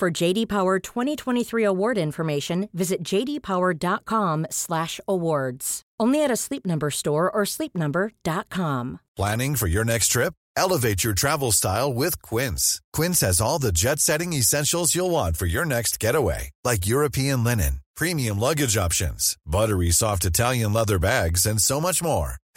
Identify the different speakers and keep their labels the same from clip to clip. Speaker 1: For JD Power 2023 award information, visit jdpower.com/awards. Only at a Sleep Number store or sleepnumber.com.
Speaker 2: Planning for your next trip? Elevate your travel style with Quince. Quince has all the jet-setting essentials you'll want for your next getaway, like European linen, premium luggage options, buttery soft Italian leather bags, and so much more.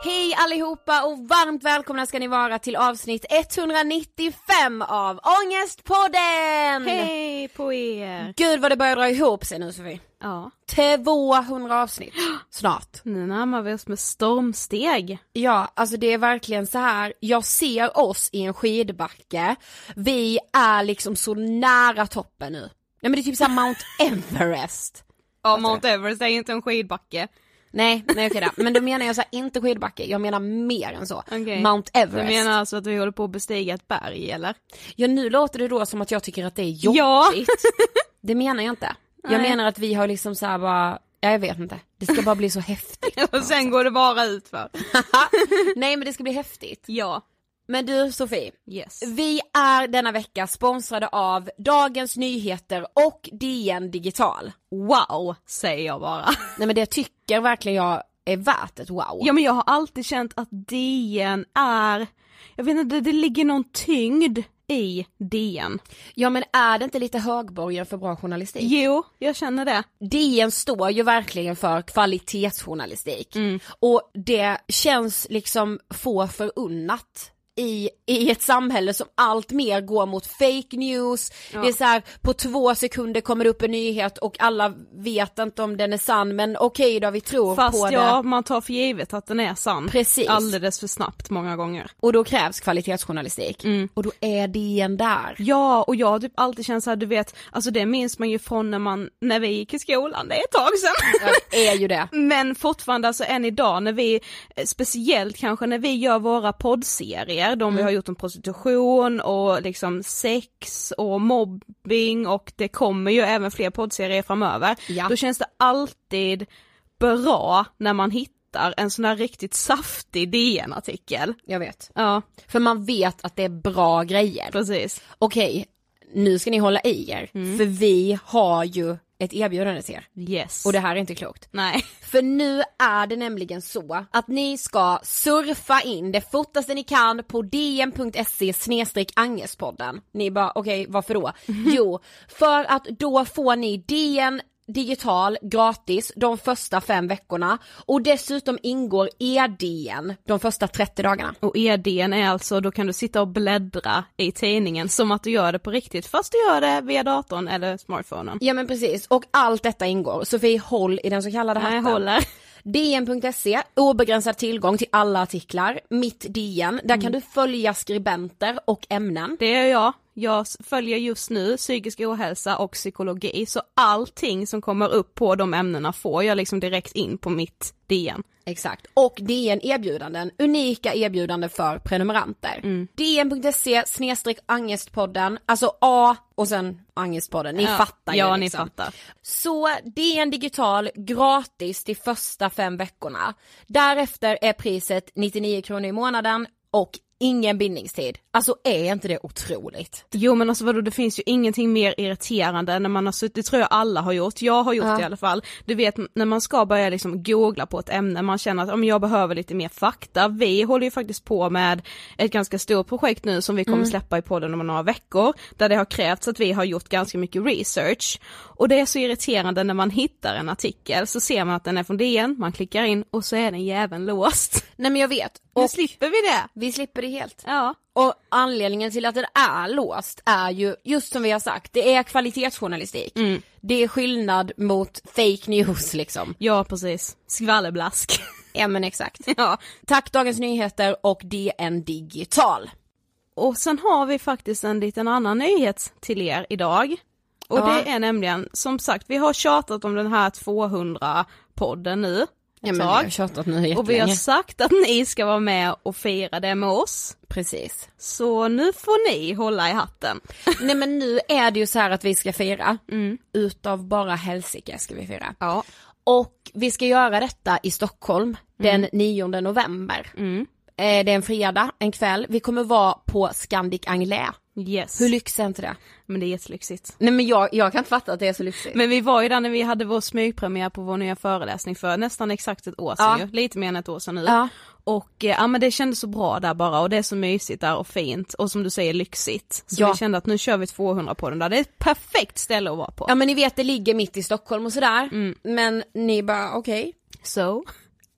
Speaker 3: Hej allihopa och varmt välkomna ska ni vara till avsnitt 195 av Ångestpodden!
Speaker 4: Hej på er!
Speaker 3: Gud vad det börjar dra ihop sig nu Sofie.
Speaker 4: Ja,
Speaker 3: 200 avsnitt snart.
Speaker 4: nu närmar vi oss med stormsteg.
Speaker 3: Ja, alltså det är verkligen så här. jag ser oss i en skidbacke, vi är liksom så nära toppen nu. Nej men det är typ såhär Mount Everest. Alltså,
Speaker 4: Ja, Mount Everest är ju inte en skidbacke.
Speaker 3: Nej, nej okej då. Men då menar jag så här, inte skidbacke, jag menar mer än så.
Speaker 4: Okej.
Speaker 3: Mount
Speaker 4: Du
Speaker 3: Everest.
Speaker 4: menar alltså att vi håller på att bestiga ett berg eller?
Speaker 3: Ja nu låter det då som att jag tycker att det är jobbigt.
Speaker 4: Ja.
Speaker 3: Det menar jag inte. Jag
Speaker 4: Nej.
Speaker 3: menar att vi har liksom så här bara, ja jag vet inte. Det ska bara bli så häftigt.
Speaker 4: Och sen går det bara ut för.
Speaker 3: nej men det ska bli häftigt.
Speaker 4: Ja.
Speaker 3: Men du Sofie,
Speaker 4: Yes.
Speaker 3: vi är denna vecka sponsrade av Dagens Nyheter och DN Digital.
Speaker 4: Wow, säger jag bara.
Speaker 3: Nej men det tycker verkligen jag är värt ett wow.
Speaker 4: Ja men jag har alltid känt att DN är, jag vet inte, det ligger någon tyngd i DN.
Speaker 3: Ja men är det inte lite högborgen för bra journalistik?
Speaker 4: Jo, jag känner det.
Speaker 3: DN står ju verkligen för kvalitetsjournalistik
Speaker 4: Mm.
Speaker 3: och det känns liksom få förunnat i, i ett samhälle som allt mer går mot fake news, det är så här, på två sekunder kommer det upp en nyhet och alla vet inte om den är sann men okej då vi tror på
Speaker 4: Fast ja,
Speaker 3: det.
Speaker 4: man tar för givet att den är sann.
Speaker 3: Precis.
Speaker 4: Alldeles för snabbt många gånger.
Speaker 3: Och då krävs kvalitetsjournalistik
Speaker 4: Mm.
Speaker 3: och då är DN där.
Speaker 4: Ja, och jag har typ alltid känt såhär, du vet, alltså det minns man ju från när man, när vi gick i skolan, det är ett tag sedan.
Speaker 3: Det är ju det.
Speaker 4: Men fortfarande alltså än idag när vi, eh, speciellt kanske när vi gör våra poddserier, de vi
Speaker 3: Mm.
Speaker 4: har gjort om prostitution och liksom sex och mobbing och det kommer ju även fler poddserier framöver.
Speaker 3: Ja.
Speaker 4: Då känns det alltid bra när man hittar en sån här riktigt saftig DN-artikel.
Speaker 3: Jag vet.
Speaker 4: Ja,
Speaker 3: För man vet att det är bra grejer.
Speaker 4: precis.
Speaker 3: okej, nu ska ni hålla i er, för vi har ju ett erbjudande till er.
Speaker 4: Yes.
Speaker 3: Och det här är inte klokt.
Speaker 4: Nej.
Speaker 3: För nu är det nämligen så att ni ska surfa in det fortaste ni kan på dn.se angespodden. Ni bara okej varför då? Jo, för att då får ni DN digital gratis de första fem veckorna och dessutom ingår EDN de första 30 dagarna.
Speaker 4: Och EDN är alltså, då kan du sitta och bläddra i tidningen som att du gör det på riktigt, fast du gör det via datorn eller smartphonen.
Speaker 3: Ja men precis, och allt detta ingår. Sofie håll i den så kallade
Speaker 4: Nej,
Speaker 3: hatten.
Speaker 4: håller.
Speaker 3: DN.se, E, obegränsad tillgång till alla artiklar, mitt DN, där kan du följa skribenter och ämnen.
Speaker 4: Det är jag. Jag s- följer just nu psykisk ohälsa och psykologi, så allting som kommer upp på de ämnena får jag liksom direkt in på mitt DN.
Speaker 3: Exakt. Och DN erbjudanden, unika erbjudanden för prenumeranter. DN.se E, snedstreck angestpodden, alltså A och sen angestpodden, ni fattar ju
Speaker 4: Ja,
Speaker 3: liksom.
Speaker 4: ni fattar.
Speaker 3: Så DN digital gratis de första fem veckorna. Därefter är priset 99 kronor i månaden och ingen bindningstid. Alltså är inte det otroligt?
Speaker 4: Jo men alltså vadå, det finns ju ingenting mer irriterande än när man har suttit, det tror jag alla har gjort, jag har gjort det i alla fall. Du vet när man ska börja liksom googla på ett ämne, man känner att om jag behöver lite mer fakta. Vi håller ju faktiskt på med ett ganska stort projekt nu som vi kommer släppa i podden om några veckor, där det har krävts att vi har gjort ganska mycket research. Och det är så irriterande när man hittar en artikel, så ser man att den är från DN, man klickar in och så är den jäveln låst.
Speaker 3: Nej men jag vet.
Speaker 4: Nu
Speaker 3: Och
Speaker 4: slipper vi det!
Speaker 3: vi slipper det helt.
Speaker 4: Ja.
Speaker 3: Och anledningen till att den är låst är ju, just som vi har sagt, det är kvalitetsjournalistik. Det är skillnad mot fake news liksom.
Speaker 4: Ja precis, skvallerblask.
Speaker 3: Ja men exakt.
Speaker 4: ja.
Speaker 3: Tack Dagens Nyheter och DN Digital.
Speaker 4: Och sen har vi faktiskt en liten annan nyhet till er idag. Och
Speaker 3: Ja.
Speaker 4: det är nämligen, som sagt, vi har tjatat om den här 200-podden nu ett
Speaker 3: Ja men vi har
Speaker 4: tag.
Speaker 3: tjatat nu
Speaker 4: Och vi har
Speaker 3: jättelänge.
Speaker 4: sagt att ni ska vara med och fira det med oss.
Speaker 3: Precis.
Speaker 4: Så nu får ni hålla i hatten.
Speaker 3: Nej men nu är det ju så här att vi ska fira. Utav bara helsike ska vi fira.
Speaker 4: Ja.
Speaker 3: Och vi ska göra detta i Stockholm den 9 november. Eh, Det är en fredag, en kväll. Vi kommer vara på Scandic Anglais.
Speaker 4: Yes.
Speaker 3: Hur lyxigt är inte det?
Speaker 4: Men det är jättelyxigt.
Speaker 3: Nej men jag, jag kan inte fatta att det är så lyxigt.
Speaker 4: Men vi var ju där när vi hade vår smygpremiär på vår nya föreläsning för nästan exakt ett år sedan
Speaker 3: Ja.
Speaker 4: ju, lite mer än ett år sedan nu.
Speaker 3: Ja.
Speaker 4: Och eh, ja men det kändes så bra där bara och det är så mysigt där och fint och som du säger lyxigt. Så
Speaker 3: Ja.
Speaker 4: vi kände att nu kör vi 200 på den där, det är ett perfekt ställe att vara på.
Speaker 3: Ja men ni vet det ligger mitt i Stockholm och sådär. Men ni bara okej,
Speaker 4: So?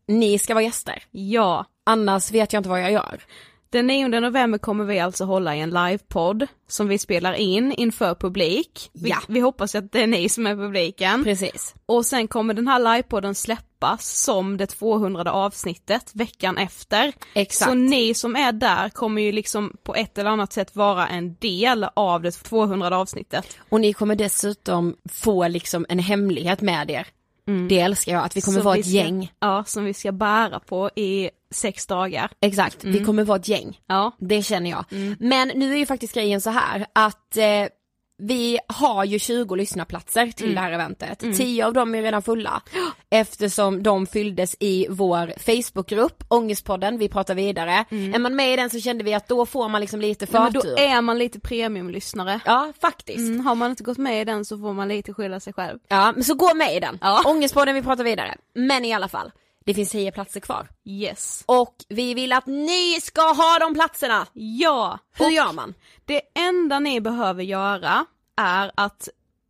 Speaker 3: ni ska vara gäster.
Speaker 4: Ja.
Speaker 3: Annars vet jag inte vad jag gör.
Speaker 4: Den 9 november kommer vi alltså hålla i en livepodd som vi spelar in inför publik. Vi,
Speaker 3: Ja.
Speaker 4: vi hoppas att det är ni som är publiken.
Speaker 3: Precis.
Speaker 4: Och sen kommer den här livepodden släppas som det 200 avsnittet veckan efter.
Speaker 3: Exakt.
Speaker 4: Så ni som är där kommer ju liksom på ett eller annat sätt vara en del av det 200 avsnittet.
Speaker 3: Och ni kommer dessutom få liksom en hemlighet med er.
Speaker 4: Mm.
Speaker 3: Det älskar jag, att vi kommer
Speaker 4: Som
Speaker 3: vara
Speaker 4: vi
Speaker 3: ett
Speaker 4: ska-
Speaker 3: gäng.
Speaker 4: Ja, som vi ska bära på i sex dagar.
Speaker 3: Exakt, vi kommer vara ett gäng.
Speaker 4: Mm. Ja, Mm.
Speaker 3: Det känner jag. Men nu är ju faktiskt grejen så här att eh, vi har ju 20 lyssnarplatser till
Speaker 4: Mm.
Speaker 3: det här eventet. 10 av dem är redan fulla. Eftersom de fylldes i vår Facebookgrupp, Ångestpodden, vi pratar vidare. Är man med i den så kände vi att då får man liksom lite
Speaker 4: Mm. men
Speaker 3: förtur.
Speaker 4: då är man lite premiumlyssnare.
Speaker 3: Ja, faktiskt.
Speaker 4: Mm, har man inte gått med i den så får man lite skylla sig själv.
Speaker 3: Ja, men så gå med i den.
Speaker 4: Ja.
Speaker 3: Ångestpodden, vi pratar vidare. Men i alla fall. Det finns tio platser kvar.
Speaker 4: Yes.
Speaker 3: Och vi vill att ni ska ha de platserna!
Speaker 4: Ja!
Speaker 3: Hur
Speaker 4: och
Speaker 3: gör man?
Speaker 4: Det enda ni behöver göra är att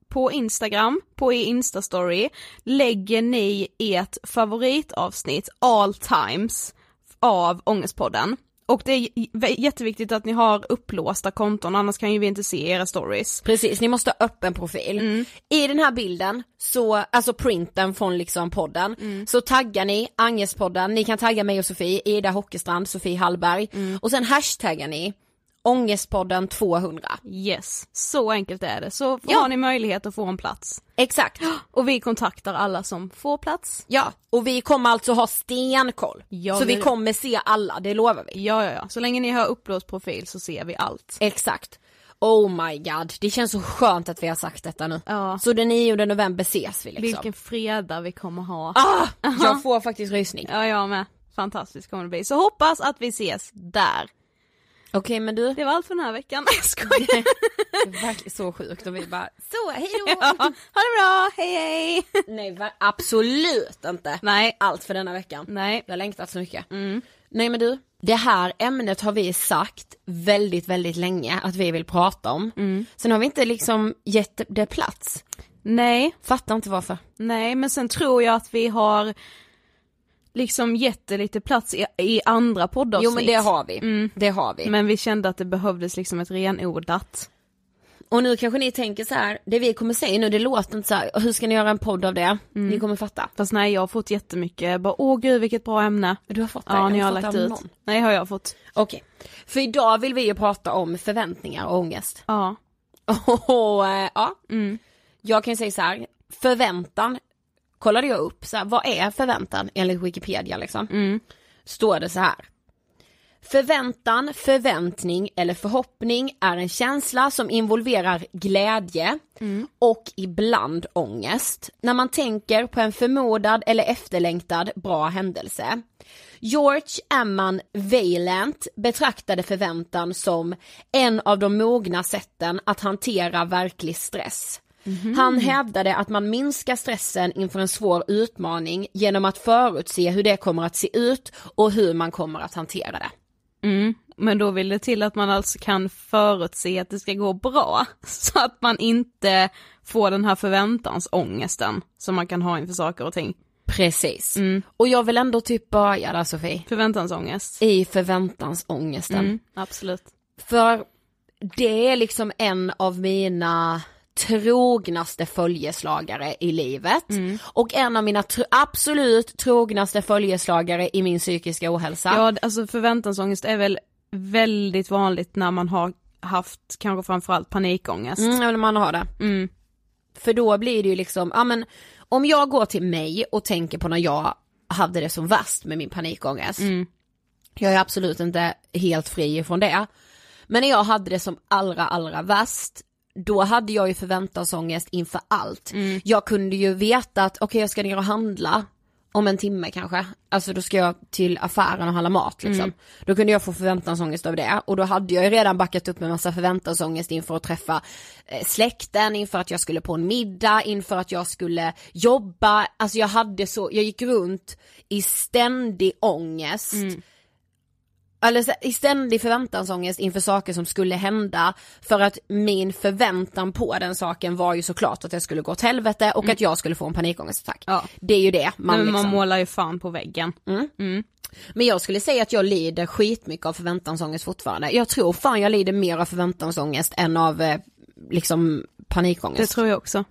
Speaker 4: på Instagram, på er Instastory, lägger ni ert favoritavsnitt all times av Ångestpodden. Och det är j- jätteviktigt att ni har upplåsta konton annars kan ju vi inte se era stories.
Speaker 3: Precis, ni måste ha öppen profil.
Speaker 4: Mm.
Speaker 3: I den här bilden, så, alltså printen från liksom podden,
Speaker 4: Mm.
Speaker 3: så taggar ni Angespodden, ni kan tagga mig och Sofie, Ida Hockestrand, Sofie Hallberg
Speaker 4: Mm.
Speaker 3: och sen hashtaggar ni Ångestpodden 200.
Speaker 4: Yes, så enkelt är det. Så
Speaker 3: Ja.
Speaker 4: har ni möjlighet att få en plats.
Speaker 3: Exakt,
Speaker 4: Och vi kontaktar alla som får plats.
Speaker 3: ja. Och vi kommer alltså ha stenkoll.
Speaker 4: Ja,
Speaker 3: så vi
Speaker 4: det-
Speaker 3: kommer se alla, det lovar vi.
Speaker 4: Ja, ja, ja. Så länge ni har upplåst profil så ser vi allt.
Speaker 3: Exakt. Oh my god, det känns så skönt att vi har sagt detta nu.
Speaker 4: Ja.
Speaker 3: Så den 9 november ses vi liksom.
Speaker 4: Vilken fredag vi kommer ha.
Speaker 3: Ah, jag får faktiskt rysning.
Speaker 4: Ja, jag med. Fantastiskt kommer det bli. Så hoppas att vi ses där.
Speaker 3: Okej men du,
Speaker 4: Det var allt för den här veckan. Jag skojar.
Speaker 3: Det var så sjukt och vi bara så hejdå!
Speaker 4: Ja. Ha det bra, hej hej!
Speaker 3: Nej va- absolut inte!
Speaker 4: Nej,
Speaker 3: Allt för denna veckan.
Speaker 4: nej.
Speaker 3: Jag har längtat så mycket. Nej men du, det här ämnet har vi sagt väldigt väldigt länge att vi vill prata om. Sen har vi inte liksom gett det plats.
Speaker 4: Nej,
Speaker 3: Fattar inte varför.
Speaker 4: nej, men sen tror jag att vi har liksom gett det lite plats i, i andra poddavsnitt.
Speaker 3: Jo men det har vi. Det har vi.
Speaker 4: Men vi kände att det behövdes liksom ett renodlat.
Speaker 3: Och nu kanske ni tänker så här, det vi kommer säga nu det låter inte så här, hur ska ni göra en podd av det?
Speaker 4: Mm.
Speaker 3: Ni kommer fatta.
Speaker 4: Fast nej, jag har fått jättemycket, bara åh gud vilket bra ämne.
Speaker 3: Du har fått det?
Speaker 4: Ja, ni har
Speaker 3: fått
Speaker 4: lagt
Speaker 3: det av
Speaker 4: ut.
Speaker 3: någon.
Speaker 4: Nej, har jag fått.
Speaker 3: Okej. För idag vill vi ju prata om förväntningar och ångest.
Speaker 4: Ja.
Speaker 3: Och eh, ja, jag kan ju säga så här, förväntan kollade jag upp, så här, vad är förväntan enligt Wikipedia liksom? Står det så här. Förväntan, förväntning eller förhoppning är en känsla som involverar glädje och ibland ångest. När man tänker på en förmodad eller efterlängtad bra händelse. George Amman Valent betraktade förväntan som en av de mogna sätten att hantera verklig stress. Han hävdade att man minskar stressen inför en svår utmaning genom att förutse hur det kommer att se ut och hur man kommer att hantera det.
Speaker 4: Men då vill det till att man alltså kan förutse att det ska gå bra. Så att man inte får den här förväntansångesten som man kan ha inför saker och ting.
Speaker 3: Precis. Mm. Och jag vill ändå typ börja där Sofie,
Speaker 4: Förväntansångest.
Speaker 3: i förväntansångesten.
Speaker 4: Mm, absolut.
Speaker 3: För det är liksom en av mina trognaste följeslagare i livet
Speaker 4: Mm.
Speaker 3: och en av mina tr- absolut trognaste följeslagare i min psykiska ohälsa.
Speaker 4: Ja, alltså förväntansångest är väl väldigt vanligt när man har haft kanske framförallt panikångest.
Speaker 3: Mm, jag vill man ha det.
Speaker 4: Mm.
Speaker 3: För då blir det ju liksom, ja men om jag går till mig och tänker på när jag hade det som värst med min
Speaker 4: Mm.
Speaker 3: panikångest. Jag är absolut inte helt fri från det. Men när jag hade det som allra, allra värst, då hade jag ju förväntansångest inför allt. Jag kunde ju veta att, okej jag ska ner och handla om en timme kanske, alltså då ska jag till affären och handla mat liksom. Då kunde jag få förväntansångest av det och då hade jag ju redan backat upp med massa förväntansångest inför att träffa eh, släkten, inför att jag skulle på en middag, inför att jag skulle jobba, alltså jag hade så, jag gick runt i ständig ångest eller så- i ständig förväntansångest inför saker som skulle hända för att min förväntan på den saken var ju såklart att det skulle gå åt helvete och att jag skulle få en panikångestattack.
Speaker 4: Mm. Ja.
Speaker 3: Det är ju det man,
Speaker 4: Man, men man
Speaker 3: liksom.
Speaker 4: målar ju fan på väggen.
Speaker 3: Men jag skulle säga att jag lider skitmycket av förväntansångest fortfarande. Jag tror fan jag lider mer av förväntansångest än av eh, liksom panikångest.
Speaker 4: Det tror jag också.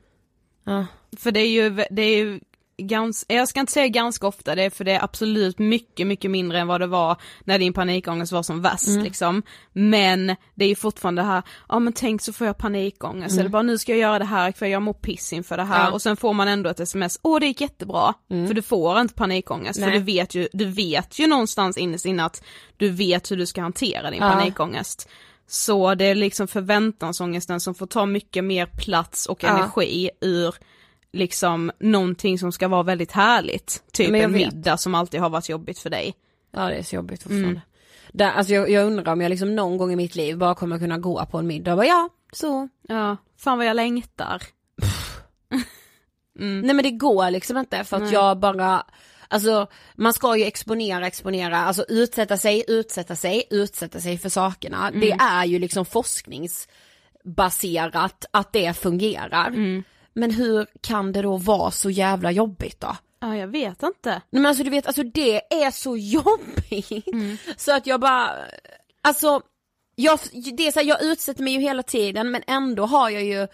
Speaker 3: Ja.
Speaker 4: För det är ju, det är ju ganska, jag ska inte säga ganska ofta, det är för det är absolut mycket, mycket mindre än vad det var när din panikångest var som värst
Speaker 3: Mm.
Speaker 4: liksom. Men det är ju fortfarande det här, ja men tänk så får jag panikångest, eller bara nu ska jag göra det här för jag mår piss inför det här
Speaker 3: Mm. Ja. Mm.
Speaker 4: och sen får man ändå ett sms, åh det gick jättebra, för du får inte panikångest, för
Speaker 3: Nej.
Speaker 4: du vet ju, du vet ju någonstans innerst inne att du vet hur du ska hantera din
Speaker 3: Ja.
Speaker 4: panikångest. Så det är liksom förväntansångesten som får ta mycket mer plats och
Speaker 3: Ja.
Speaker 4: energi ur liksom någonting som ska vara väldigt härligt. Typ
Speaker 3: Men jag
Speaker 4: en
Speaker 3: vet.
Speaker 4: middag som alltid har varit jobbigt för dig.
Speaker 3: Ja det är så jobbigt
Speaker 4: Mm.
Speaker 3: fortfarande. Där, alltså jag, jag undrar om jag liksom någon gång i mitt liv bara kommer kunna gå på en middag och bara ja, så.
Speaker 4: Ja, fan vad jag längtar.
Speaker 3: Nej men det går liksom inte för att jag bara, Alltså man ska ju exponera, exponera, alltså utsätta sig, utsätta sig, utsätta sig för sakerna. Det är ju liksom forskningsbaserat att det fungerar. Men hur kan det då vara så jävla jobbigt då?
Speaker 4: Ja, jag vet inte.
Speaker 3: Nej men alltså du vet, alltså det är så jobbigt. Så att jag bara, alltså, jag, det är så här, jag utsätter mig ju hela tiden men ändå har jag ju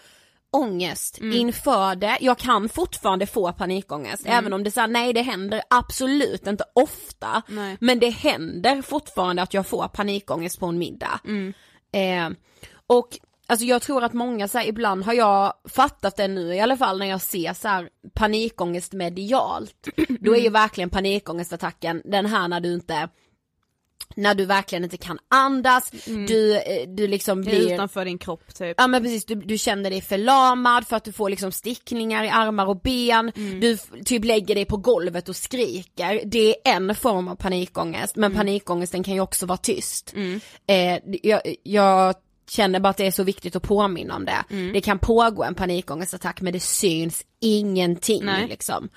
Speaker 3: ångest inför det. Jag kan fortfarande få panikångest även om det säger nej det händer absolut inte ofta.
Speaker 4: Nej.
Speaker 3: Men det händer fortfarande att jag får panikångest på en middag. Eh, och alltså jag tror att många så här, ibland har jag fattat det nu i alla fall när jag ser så här, panikångest medialt. Då är ju verkligen panikångestattacken den här när du inte när du verkligen inte kan andas, du, eh, du liksom
Speaker 4: Det är
Speaker 3: blir
Speaker 4: utanför din kropp typ.
Speaker 3: Ja men precis, du, du känner dig förlamad för att du får liksom stickningar i armar och ben, du f- typ lägger dig på golvet och skriker. Det är en form av panikångest, men panikångesten kan ju också vara tyst. Eh, jag, jag känner bara att det är så viktigt att påminna om det. Det kan pågå en panikångestattack men det syns ingenting
Speaker 4: Nej.
Speaker 3: liksom.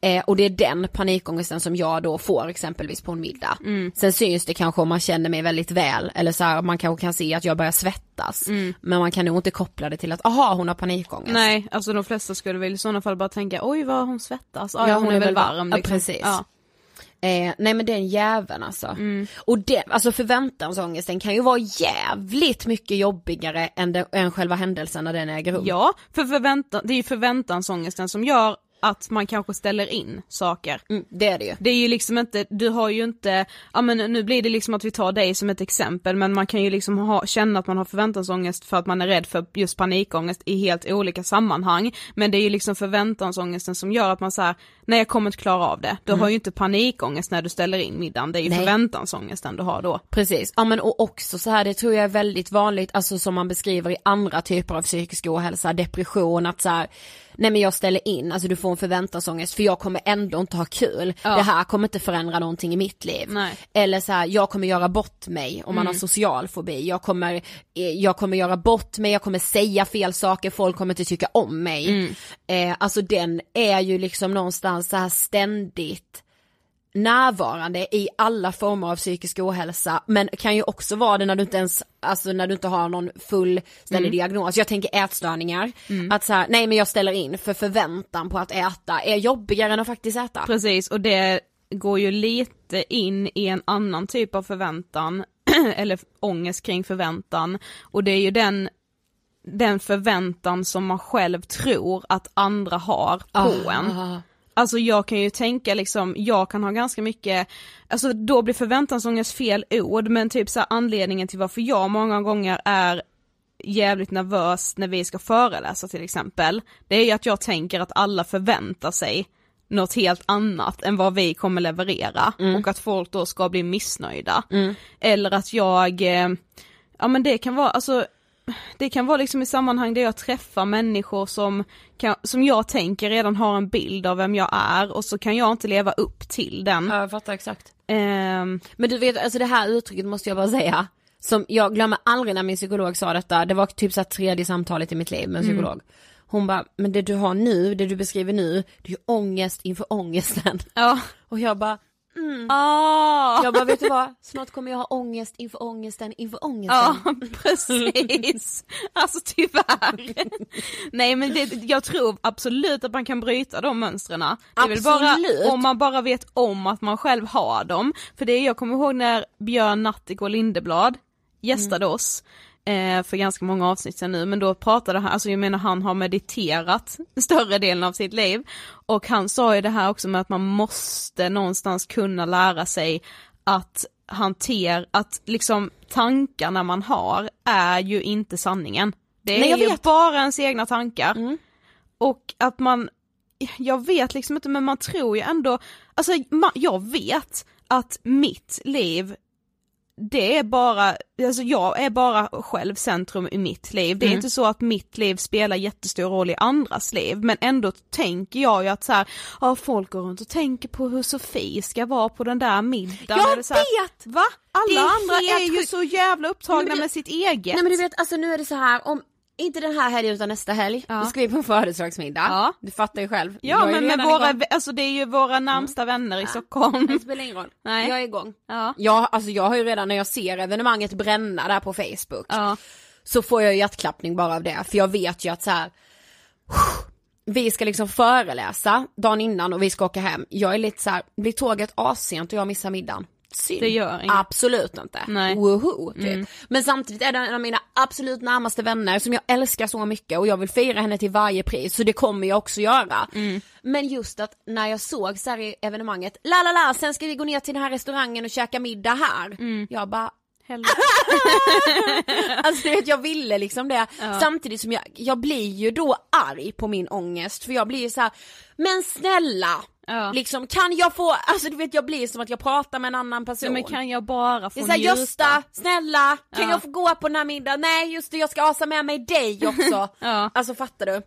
Speaker 3: Eh, och det är den panikångesten som jag då får exempelvis på en middag.
Speaker 4: Mm.
Speaker 3: Sen syns det kanske om man känner mig väldigt väl eller så här, man kanske kan se att jag börjar svettas. Men man kan nog inte koppla det till att, aha hon har panikångest.
Speaker 4: Mm. Nej, alltså de flesta skulle väl i sådana fall bara tänka oj vad hon svettas, ja, ja, hon, är väl varm
Speaker 3: Ja,
Speaker 4: liksom.
Speaker 3: precis.
Speaker 4: Ja. Mm.
Speaker 3: Eh, nej men den jäveln alltså. Och det, alltså förväntansångesten kan ju vara jävligt mycket jobbigare än, den, än själva händelsen när den äger rum.
Speaker 4: ja, för förväntan, det är ju förväntansångesten som gör att man kanske ställer in saker.
Speaker 3: Mm, det är det ju.
Speaker 4: Det är ju liksom inte, du har ju inte, ja men nu blir det liksom att vi tar dig som ett exempel men man kan ju liksom ha, känna att man har förväntansångest för att man är rädd för just panikångest i helt olika sammanhang. Men det är ju liksom förväntansångesten som gör att man säger nej jag kommer inte klara av det. Du har ju inte panikångest när du ställer in middagen, det är ju
Speaker 3: Nej.
Speaker 4: förväntansångesten du har då.
Speaker 3: Precis, ja men och också så här det tror jag är väldigt vanligt, alltså som man beskriver i andra typer av psykisk ohälsa, depression, att så här, nej men jag ställer in, alltså du får en förväntansångest för jag kommer ändå inte ha kul, det här kommer inte förändra någonting i mitt liv.
Speaker 4: Nej.
Speaker 3: Eller så här, jag kommer göra bort mig om man har social fobi, jag kommer, eh, jag kommer göra bort mig, jag kommer säga fel saker, folk kommer inte tycka om mig. Eh, alltså den är ju liksom någonstans så här ständigt närvarande i alla former av psykisk ohälsa men kan ju också vara det när du inte ens, alltså när du inte har någon
Speaker 4: Mm.
Speaker 3: fullständig diagnos. Jag tänker ätstörningar, att så här, nej men jag ställer in för förväntan på att äta är jobbigare än att faktiskt äta.
Speaker 4: Precis, och det går ju lite in i en annan typ av förväntan, eller ångest kring förväntan, och det är ju den den förväntan som man själv tror att andra har på en. Alltså jag kan ju tänka liksom, jag kan ha ganska mycket, alltså då blir förväntansångest fel ord men typ så här, anledningen till varför jag många gånger är jävligt nervös när vi ska föreläsa till exempel, det är ju att jag tänker att alla förväntar sig något helt annat än vad vi kommer leverera och att folk då ska bli missnöjda. Eller att jag, eh, ja men det kan vara, alltså det kan vara liksom i sammanhang där jag träffar människor som, kan, som jag tänker redan har en bild av vem jag är och så kan jag inte leva upp till den.
Speaker 3: Ja, jag fattar exakt.
Speaker 4: Ehm,
Speaker 3: Men du vet, alltså det här uttrycket måste jag bara säga. Som jag glömmer aldrig när min psykolog sa detta, det var typ så här tredje samtalet i mitt liv med en
Speaker 4: Mm.
Speaker 3: psykolog. Hon bara, men det du har nu, det du beskriver nu, det är ju ångest inför ångesten.
Speaker 4: ja,
Speaker 3: Och jag bara,
Speaker 4: ah,
Speaker 3: Jag bara vet du vad, snart kommer jag ha ångest inför ångesten inför ångesten.
Speaker 4: ja precis. Alltså tyvärr. Nej men det, jag tror absolut att man kan bryta de mönstren. Det är väl
Speaker 3: Absolut.
Speaker 4: bara om man bara vet om att man själv har dem. För det är, jag kommer ihåg när Björn Natthik och Lindeblad gästade
Speaker 3: Mm.
Speaker 4: oss eh, för ganska många avsnitt sedan nu, men då pratade han, alltså jag menar han har mediterat större delen av sitt liv och han sa ju det här också med att man måste någonstans kunna lära sig att hantera, att liksom tankarna man har är ju inte sanningen. Det är
Speaker 3: Nej, jag
Speaker 4: ju
Speaker 3: vet. Mm.
Speaker 4: bara ens egna tankar. Och att man, jag vet liksom inte men man tror ju ändå, alltså ma- jag vet att mitt liv det är bara, alltså jag är bara själv centrum i mitt liv.
Speaker 3: Mm.
Speaker 4: Det är inte så att mitt liv spelar jättestor roll i andras liv men ändå tänker jag ju att så här, ja folk går runt och tänker på hur Sofie ska vara på den där middagen.
Speaker 3: Jag
Speaker 4: eller så här,
Speaker 3: vet!
Speaker 4: Va? Alla
Speaker 3: Det är
Speaker 4: andra är
Speaker 3: helt
Speaker 4: ju
Speaker 3: sjukt.
Speaker 4: så jävla upptagna
Speaker 3: Nej, men det-
Speaker 4: med sitt eget.
Speaker 3: Nej men du vet, alltså nu är det så här om inte den här helgen utan nästa helg,
Speaker 5: Ja.
Speaker 3: då ska vi på en födelsedagsmiddag.
Speaker 5: Ja.
Speaker 3: Du fattar ju själv.
Speaker 4: Ja
Speaker 3: Jag är
Speaker 4: men med
Speaker 3: redan
Speaker 4: våra,
Speaker 3: igång. Mm.
Speaker 4: vä- alltså det är ju våra närmsta vänner i
Speaker 5: Det
Speaker 4: Stockholm.
Speaker 5: spelar ingen roll.
Speaker 4: Nej.
Speaker 5: Jag är igång.
Speaker 4: Ja.
Speaker 3: Ja, alltså jag har ju redan när jag ser evenemanget bränna där på Facebook
Speaker 4: Ja.
Speaker 3: så får jag ju hjärtklappning bara av det. För jag vet ju att så här. vi ska liksom föreläsa dagen innan och vi ska åka hem. Jag är lite så här, blir tåget assent och jag missar middagen? Synd.
Speaker 4: Det gör inget.
Speaker 3: Absolut inte.
Speaker 4: Nej. Mm.
Speaker 3: Woho, typ. Men samtidigt är det en av mina absolut närmaste vänner som jag älskar så mycket och jag vill fira henne till varje pris så det kommer jag också göra.
Speaker 4: Mm.
Speaker 3: Men just att när jag såg så här i evenemanget, la la la, sen ska vi gå ner till den här restaurangen och käka middag här.
Speaker 4: Mm.
Speaker 3: Jag bara,
Speaker 4: Helvete.
Speaker 3: Alltså du vet jag ville liksom det, samtidigt som jag, jag blir ju då arg på min ångest för jag blir ju så här: men snälla,
Speaker 4: Ja.
Speaker 3: liksom kan jag få, alltså du vet jag blir som att jag pratar med en annan person.
Speaker 4: Ja, men kan jag bara få
Speaker 3: det är såhär
Speaker 4: njuta?
Speaker 3: Gösta, snälla, kan
Speaker 4: Ja.
Speaker 3: jag få gå på den här middagen? Nej just det, jag ska asa med mig dig också.
Speaker 4: Ja. Mm.
Speaker 3: Alltså fattar du?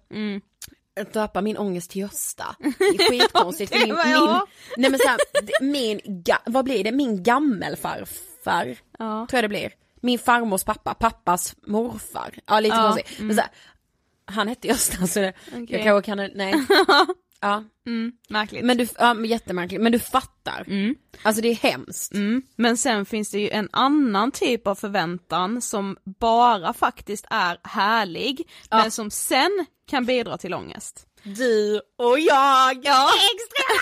Speaker 3: Jag döpa min ångest till Gösta. Det är skitkonstigt för min,
Speaker 4: var jag.
Speaker 3: min, nej men så här, det- min, ga, vad blir det, min gammelfarfar
Speaker 4: Ja.
Speaker 3: tror jag det blir. Min farmors pappa, pappas morfar. Ja lite
Speaker 4: Ja, mm.
Speaker 3: konstigt. Men så här, han hette Gösta så det, jag kanske kan, nej. ja.
Speaker 4: Märkligt.
Speaker 3: Men du, ja, men jättemärkligt, men du fattar.
Speaker 4: Mm.
Speaker 3: Alltså det är hemskt.
Speaker 4: Men sen finns det ju en annan typ av förväntan som bara faktiskt är härlig, men som sen kan bidra till ångest.
Speaker 3: Du och jag. Ja.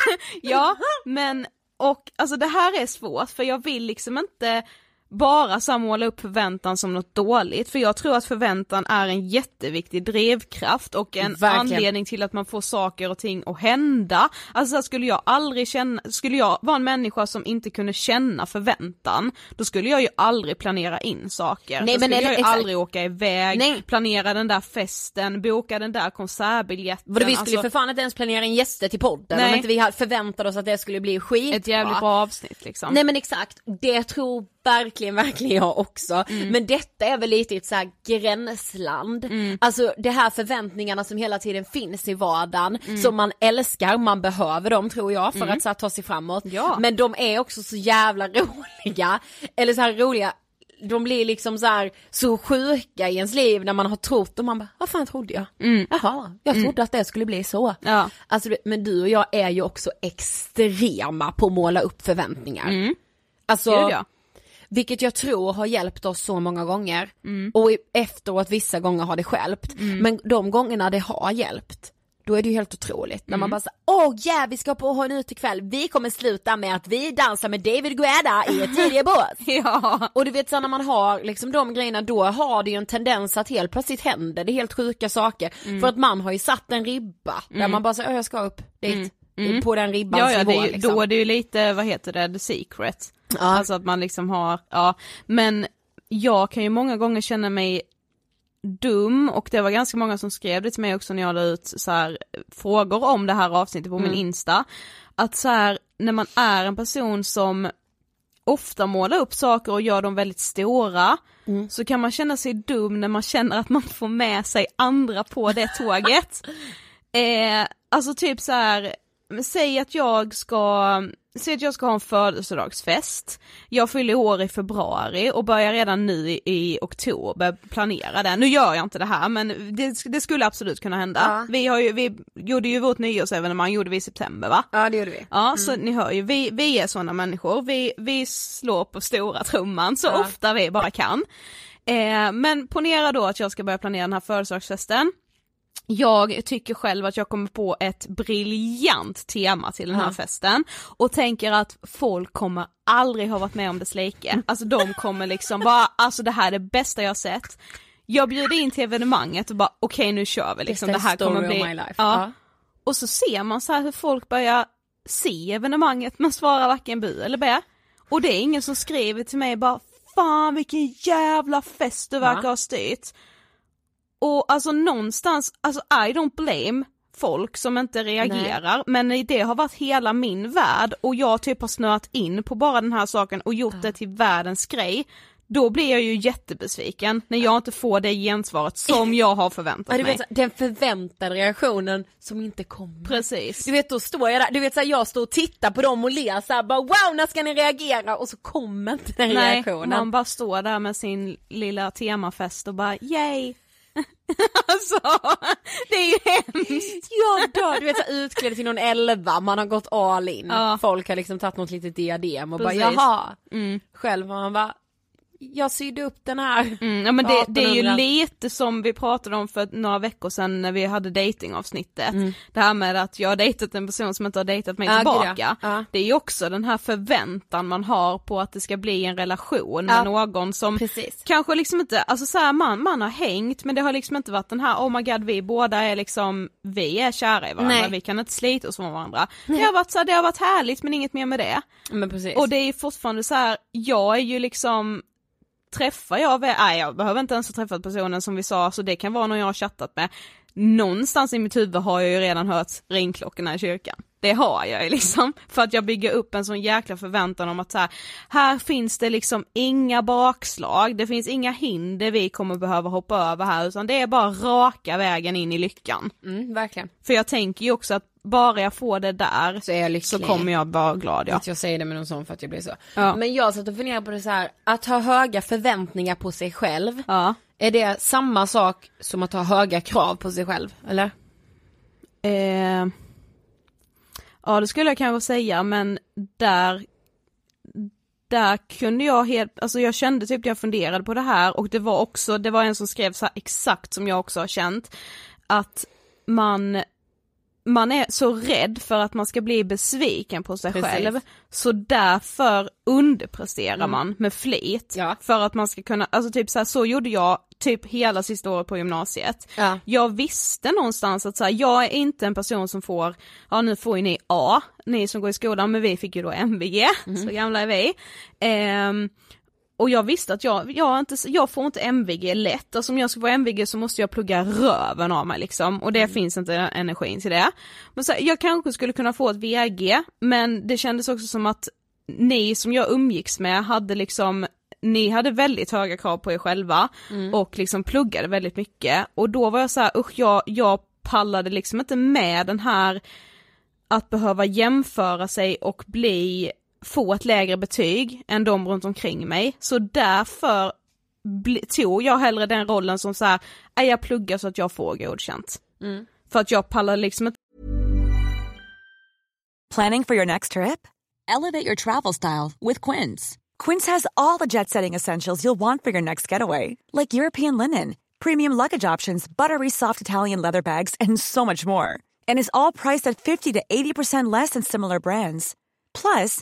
Speaker 4: Ja, men och alltså det här är svårt för jag vill liksom inte bara så här måla upp förväntan som något dåligt, för jag tror att förväntan är en jätteviktig drivkraft och en
Speaker 3: Verkligen.
Speaker 4: anledning till att man får saker och ting att hända. Alltså så här, skulle jag aldrig känna, skulle jag vara en människa som inte kunde känna förväntan, då skulle jag ju aldrig planera in saker.
Speaker 3: Nej,
Speaker 4: då
Speaker 3: men
Speaker 4: skulle
Speaker 3: är det-
Speaker 4: jag ju
Speaker 3: exakt.
Speaker 4: aldrig åka iväg,
Speaker 3: Nej.
Speaker 4: planera den där festen, boka den där konsertbiljetten.
Speaker 3: Vadå, vi skulle
Speaker 4: alltså,
Speaker 3: ju för fan inte ens planera in gäster till podden om
Speaker 4: Nej.
Speaker 3: inte vi hade- förväntade oss att det skulle bli skit.
Speaker 4: ett jävligt bra avsnitt liksom.
Speaker 3: Nej men exakt, det tror verkligen, verkligen jag också.
Speaker 4: Mm.
Speaker 3: Men detta är väl lite ett så här gränsland.
Speaker 4: Mm.
Speaker 3: Alltså de här förväntningarna som hela tiden finns i vardagen,
Speaker 4: Mm.
Speaker 3: som man älskar, man behöver dem tror jag för att så här, ta sig framåt.
Speaker 4: Ja.
Speaker 3: Men de är också så jävla roliga, eller så här roliga de blir liksom så här så sjuka i ens liv när man har trott och man bara, vad fan trodde jag? Jaha, jag trodde att det skulle bli så.
Speaker 4: Ja.
Speaker 3: Alltså, du- men du och jag är ju också extrema på att måla upp förväntningar. Alltså,
Speaker 4: Gud, ja.
Speaker 3: vilket jag tror har hjälpt oss så många gånger.
Speaker 4: Mm.
Speaker 3: Och i- efteråt vissa gånger har det hjälpt. Men de gångerna det har hjälpt, då är det ju helt
Speaker 4: Mm.
Speaker 3: otroligt. När man bara säger åh yeah, vi ska på och ha en utekväll, vi kommer sluta med att vi dansar med David Guetta i ett tidigare bås.
Speaker 4: Ja,
Speaker 3: Och du vet så här, när man har liksom de grejerna då har det ju en tendens att helt plötsligt händer det helt sjuka saker.
Speaker 4: Mm.
Speaker 3: För att man har ju satt en ribba där man bara säger jag ska upp dit. På den ribbans
Speaker 4: Mm. ja, ja
Speaker 3: nivå
Speaker 4: det är, ju-
Speaker 3: liksom.
Speaker 4: då är det ju lite, vad heter det, the secret.
Speaker 3: Ja.
Speaker 4: Alltså att man liksom har, ja, men jag kan ju många gånger känna mig dum och det var ganska många som skrev det till mig också när jag la ut så här, frågor om det här avsnittet på
Speaker 3: Mm.
Speaker 4: min Insta. Att så här, när man är en person som ofta målar upp saker och gör dem väldigt stora så kan man känna sig dum när man känner att man får med sig andra på det tåget. Eh, alltså typ så här, men säg att jag ska Säg att jag ska ha en födelsedagsfest, jag fyller år i februari och börjar redan nu i, i oktober planera den. Nu gör jag inte det här men det, det skulle absolut kunna hända. Vi, har ju, vi gjorde ju vårt nyårsevenemang gjorde vi i september va?
Speaker 3: Ja det gjorde vi.
Speaker 4: Ja, så ni hör ju, vi, vi är sådana människor, vi, vi slår på stora trumman så ofta vi bara kan. Eh, men ponera då att jag ska börja planera den här födelsedagsfesten. Jag tycker själv att jag kommer på ett briljant tema till den här festen och tänker att folk kommer aldrig ha varit med om dess like. Alltså de kommer liksom bara, alltså det här är det bästa jag har sett. Jag bjuder in till evenemanget och bara okej nu kör vi liksom, det
Speaker 3: Bästa
Speaker 4: här kommer
Speaker 3: story
Speaker 4: bli...
Speaker 3: of my life.
Speaker 4: Ja.
Speaker 3: Ja.
Speaker 4: Och så ser man så här hur folk börjar se evenemanget men svarar varken bu eller bä. Och det är ingen som skriver till mig bara Fan vilken jävla fest du verkar ha styrt. Och alltså någonstans, alltså I don't blame folk som inte reagerar men det har varit hela min värld och jag typ har snöat in på bara den här saken och gjort det till världens grej. Då blir jag ju jättebesviken när jag inte får det gensvaret som jag har förväntat
Speaker 3: Ja, du
Speaker 4: mig.
Speaker 3: vet, så här, den förväntade reaktionen som inte kommer.
Speaker 4: Precis.
Speaker 3: Du vet då står jag där, du vet så här, jag står och tittar på dem och ler så här, bara wow när ska ni reagera och så kommer inte den
Speaker 4: Nej,
Speaker 3: reaktionen.
Speaker 4: man bara står där med sin lilla temafest och bara yay, Alltså, det är ju hemskt.
Speaker 3: Jag dör! Du vet såhär utklädd till någon elva, man har gått all in.
Speaker 4: Ja.
Speaker 3: Folk har liksom tagit något litet diadem och bara
Speaker 4: Precis.
Speaker 3: jaha.
Speaker 4: Mm.
Speaker 3: Själv har man bara, jag sydde upp den här.
Speaker 4: Mm, ja, men det, det är ju
Speaker 3: 1800.
Speaker 4: lite som vi pratade om för några veckor sedan när vi hade datingavsnittet. Det här med att jag har dejtat en person som inte har dejtat mig
Speaker 3: Mm. Ja, gud, ja.
Speaker 4: tillbaka.
Speaker 3: Ja.
Speaker 4: Det är ju också den här förväntan man har på att det ska bli en relation med
Speaker 3: Ja.
Speaker 4: någon som
Speaker 3: Precis.
Speaker 4: kanske liksom inte, alltså så här, man, man har hängt men det har liksom inte varit den här oh my god vi båda är liksom, vi är kära i varandra,
Speaker 3: Nej.
Speaker 4: vi kan inte slita oss från varandra. Det har varit så här, det har varit härligt men inget mer med det.
Speaker 3: Men precis.
Speaker 4: Och det är fortfarande så här, jag är ju liksom träffar jag, vä- nej jag behöver inte ens ha träffat personen som vi sa, så det kan vara någon jag har chattat med. Någonstans i mitt huvud har jag ju redan hört ringklockorna i kyrkan. Det har jag ju liksom, för att jag bygger upp en sån jäkla förväntan om att så här, här finns det liksom inga bakslag, det finns inga hinder vi kommer behöva hoppa över här utan det är bara raka vägen in i lyckan.
Speaker 3: Mm, verkligen.
Speaker 4: För jag tänker ju också att bara jag får det där
Speaker 3: Så är jag lycklig.
Speaker 4: så kommer jag vara glad ja.
Speaker 3: Att jag säger det med någon sån för att jag blir så.
Speaker 4: Ja.
Speaker 3: Men jag satt och funderade på det så här, att ha höga förväntningar på sig själv,
Speaker 4: ja.
Speaker 3: är det samma sak som att ha höga krav på sig själv? Eller?
Speaker 4: Eh, ja det skulle jag kanske säga men där där kunde jag helt, alltså jag kände typ att jag funderade på det här och det var också, det var en som skrev så här exakt som jag också har känt att man man är så rädd för att man ska bli besviken på sig
Speaker 3: Precis. Mm.
Speaker 4: själv så därför underpresterar man med flit
Speaker 3: Ja.
Speaker 4: för att man ska kunna, alltså typ så här, så gjorde jag typ hela sista året på gymnasiet
Speaker 3: Ja.
Speaker 4: jag visste någonstans att så här, jag är inte en person som får, ja nu får ju ni A, ni som går i skolan, men vi fick ju då MVG, så gamla är vi. Ehm, och jag visste att jag, jag, är inte, jag får inte MVG lätt, alltså om jag ska få MVG så måste jag plugga röven av mig liksom och det finns inte energin till det. Men så här, jag kanske skulle kunna få ett VG men det kändes också som att ni som jag umgicks med hade liksom ni hade väldigt höga krav på er själva och liksom pluggade väldigt mycket och då var jag så här, usch jag, jag pallade liksom inte med den här att behöva jämföra sig och bli, få ett lägre betyg än de runt omkring mig. Så därför bli- tog jag hellre den rollen som så här, "Nej, jag pluggar så att jag får godkänt.
Speaker 3: Mm.
Speaker 4: För att jag pallar liksom inte
Speaker 6: Planning for your next trip? Elevate your travel style with Quince. Quince has all the jet setting essentials you'll want for your next getaway, like European linen, premium luggage options, buttery soft Italian leather bags, and so much more. And is all priced at 50 to 80% less than similar brands. Plus,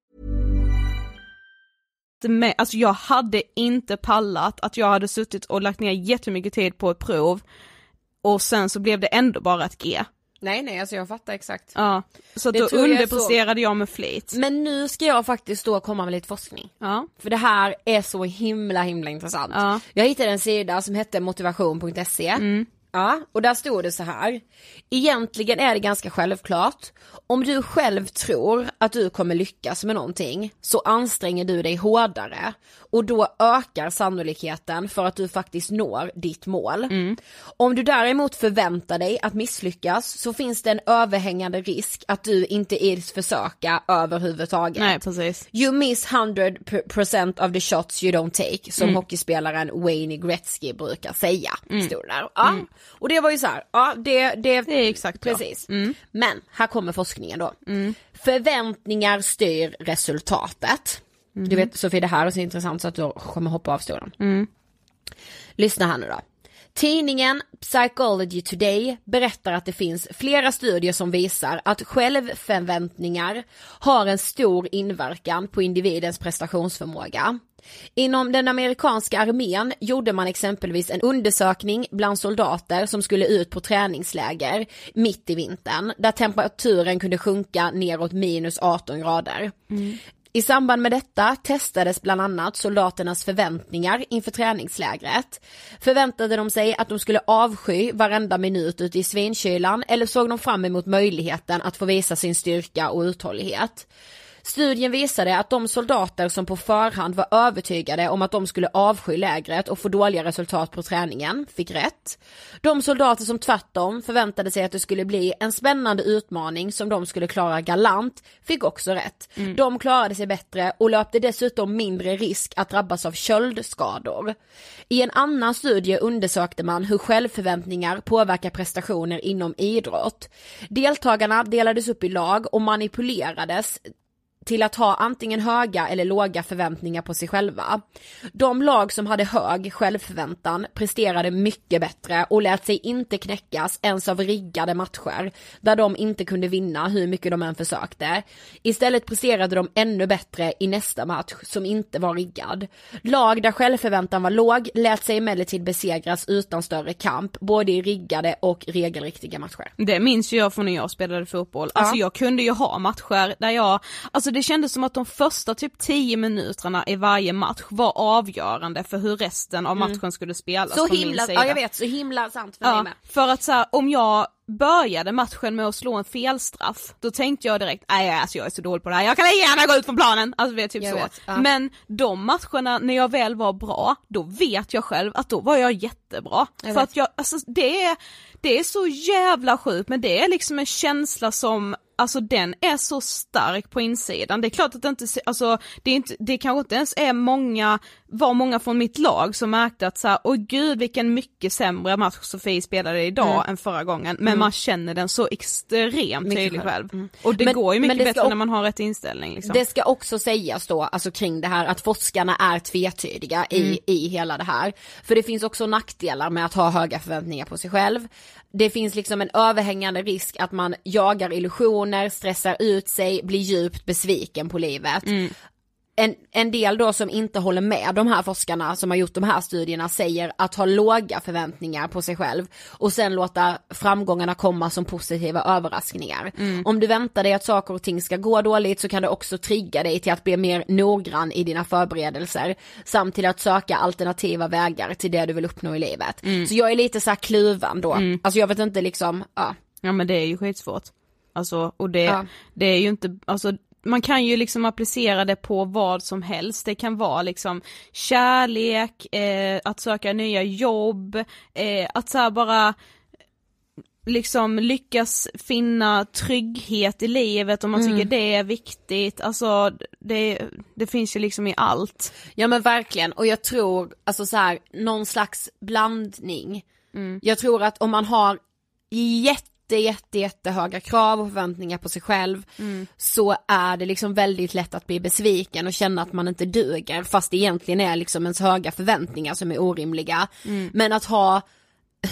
Speaker 4: med, alltså jag hade inte pallat att jag hade suttit och lagt ner jättemycket tid på ett prov och sen så blev det ändå bara ett G.
Speaker 3: Nej nej, alltså jag fattar exakt.
Speaker 4: Ja. Så att
Speaker 3: Det
Speaker 4: då
Speaker 3: tror jag är
Speaker 4: underpresterade jag med flit.
Speaker 3: Men nu ska jag faktiskt då komma med lite forskning.
Speaker 4: Ja.
Speaker 3: För det här är så himla himla intressant.
Speaker 4: Ja. Mm.
Speaker 3: Jag hittade en sida som hette motivation.se Ja, och där stod det så här. Egentligen är det ganska självklart. Om du själv tror att du kommer lyckas med någonting så anstränger du dig hårdare och då ökar sannolikheten för att du faktiskt når ditt mål.
Speaker 4: Mm.
Speaker 3: Om du däremot förväntar dig att misslyckas så finns det en överhängande risk att du inte ens försöka överhuvudtaget.
Speaker 4: Nej precis.
Speaker 3: You miss 100% of the shots you don't take
Speaker 4: Mm.
Speaker 3: som hockeyspelaren Wayne Gretzky brukar säga. Stod det där. Ja. Och det var ju så här, ja det, det,
Speaker 4: Mm. Det är exakt Mm. ja.
Speaker 3: precis. Men här kommer forskningen då. Förväntningar styr resultatet.
Speaker 4: Mm.
Speaker 3: Du vet Sofie det här är så intressant så att du kommer hoppa av stolen. Lyssna här nu då. Tidningen Psychology Today berättar att det finns flera studier som visar att självförväntningar har en stor inverkan på individens prestationsförmåga. Inom den amerikanska armén gjorde man exempelvis en undersökning bland soldater som skulle ut på träningsläger mitt i vintern där temperaturen kunde sjunka neråt minus 18 grader. I samband med detta testades bland annat soldaternas förväntningar inför träningslägret. Förväntade de sig att de skulle avsky varenda minut ute i svinkylan eller såg de fram emot möjligheten att få visa sin styrka och uthållighet? Studien visade att de soldater som på förhand var övertygade om att de skulle avsky lägret och få dåliga resultat på träningen fick rätt. De soldater som tvärtom förväntade sig att det skulle bli en spännande utmaning som de skulle klara galant fick också rätt. De klarade sig bättre och löpte dessutom mindre risk att drabbas av köldskador. I en annan studie undersökte man hur självförväntningar påverkar prestationer inom idrott. Deltagarna delades upp i lag och manipulerades till att ha antingen höga eller låga förväntningar på sig själva. De lag som hade hög självförväntan presterade mycket bättre och lät sig inte knäckas ens av riggade matcher där de inte kunde vinna hur mycket de än försökte. Istället presterade de ännu bättre i nästa match som inte var riggad. Lag där självförväntan var låg lät sig emellertid besegras utan större kamp både i riggade och regelriktiga matcher.
Speaker 4: Det minns ju jag från när jag spelade fotboll. Alltså jag kunde ju ha matcher där jag, alltså det kändes som att de första typ 10 minuterna i varje match var avgörande för hur resten av matchen skulle spelas
Speaker 3: Mm. Så
Speaker 4: Alltså, från min
Speaker 3: himla,
Speaker 4: sida.
Speaker 3: ja jag vet, så himla sant för mig
Speaker 4: Ja,
Speaker 3: med.
Speaker 4: för att så här, om jag började matchen med att slå en felstraff, då tänkte jag direkt nej alltså jag är så dålig på det här, jag kan lika gärna gå ut från planen! Alltså vet, typ
Speaker 3: Jag
Speaker 4: så.
Speaker 3: vet, ja.
Speaker 4: Men de matcherna när jag väl var bra, då vet jag själv att då var jag jättebra. för
Speaker 3: vet.
Speaker 4: att jag, alltså det är, det är så jävla sjukt men det är liksom en känsla som Alltså den är så stark på insidan, det är klart att det inte, se- alltså det är inte, det kanske inte ens är många, var många från mitt lag som märkte att så här, åh gud vilken mycket sämre match Sofie spelade idag än förra gången, men man känner den så extremt
Speaker 3: Mm. Mycket
Speaker 4: tydligt
Speaker 3: själv. Mm.
Speaker 4: själv. Och det
Speaker 3: Men-
Speaker 4: går ju
Speaker 3: men
Speaker 4: mycket
Speaker 3: det ska
Speaker 4: bättre
Speaker 3: ock-
Speaker 4: när man har rätt inställning liksom.
Speaker 3: Det ska också sägas då, alltså kring det här att forskarna är tvetydiga i, i hela det här. För det finns också nackdelar med att ha höga förväntningar på sig själv. Det finns liksom en överhängande risk att man jagar illusioner, stressar ut sig, blir djupt besviken på livet en, en del då som inte håller med de här forskarna som har gjort de här studierna säger att ha låga förväntningar på sig själv och sen låta framgångarna komma som positiva överraskningar. Om du väntar dig att saker och ting ska gå dåligt så kan det också trigga dig till att bli mer noggrann i dina förberedelser samt till att söka alternativa vägar till det du vill uppnå i livet. Så jag är lite så här kluven då, alltså jag vet inte liksom, ja.
Speaker 4: Ja men det är ju skitsvårt. Alltså och det,
Speaker 3: Ja.
Speaker 4: det är ju inte, alltså man kan ju liksom applicera det på vad som helst, det kan vara liksom kärlek, eh, att söka nya jobb, eh, att så här bara liksom lyckas finna trygghet i livet om man
Speaker 3: Mm.
Speaker 4: tycker det är viktigt, alltså det, det finns ju liksom i allt.
Speaker 3: Ja men verkligen och jag tror alltså så här någon slags blandning.
Speaker 4: Mm.
Speaker 3: Jag tror att om man har jätte jätte jättehöga krav och förväntningar på sig själv
Speaker 4: Mm.
Speaker 3: så är det liksom väldigt lätt att bli besviken och känna att man inte duger fast det egentligen är liksom ens höga förväntningar som är orimliga.
Speaker 4: Mm.
Speaker 3: Men att ha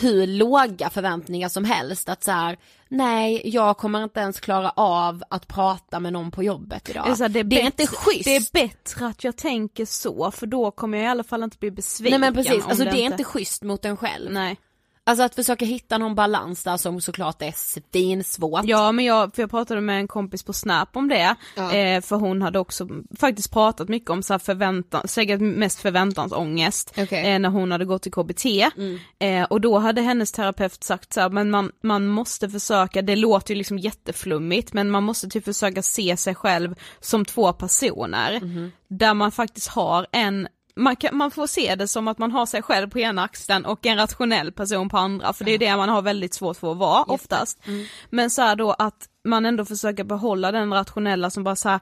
Speaker 3: hur låga förväntningar som helst att så här, nej jag kommer inte ens klara av att prata med någon på jobbet idag.
Speaker 4: Det är, så här, det är,
Speaker 3: inte
Speaker 4: bättre-
Speaker 3: schysst.
Speaker 4: Det är bättre att jag tänker så för då kommer jag i alla fall inte bli besviken.
Speaker 3: Nej men precis,
Speaker 4: om
Speaker 3: alltså det är inte schysst mot en själv.
Speaker 4: Nej.
Speaker 3: Alltså att försöka hitta någon balans där som såklart är svinsvårt.
Speaker 4: Ja men jag, för jag pratade med en kompis på Snap om det, eh, för hon hade också faktiskt pratat mycket om så här förväntan, säkert mest förväntansångest
Speaker 3: Okej.
Speaker 4: eh, när hon hade gått i KBT eh, och då hade hennes terapeut sagt så här, men man, man måste försöka, det låter ju liksom jätteflummigt men man måste typ försöka se sig själv som två personer där man faktiskt har en man, kan, man får se det som att man har sig själv på ena axeln och en rationell person på andra för det är det man har väldigt svårt för att vara oftast. Men så här då att man ändå försöker behålla den rationella som bara så här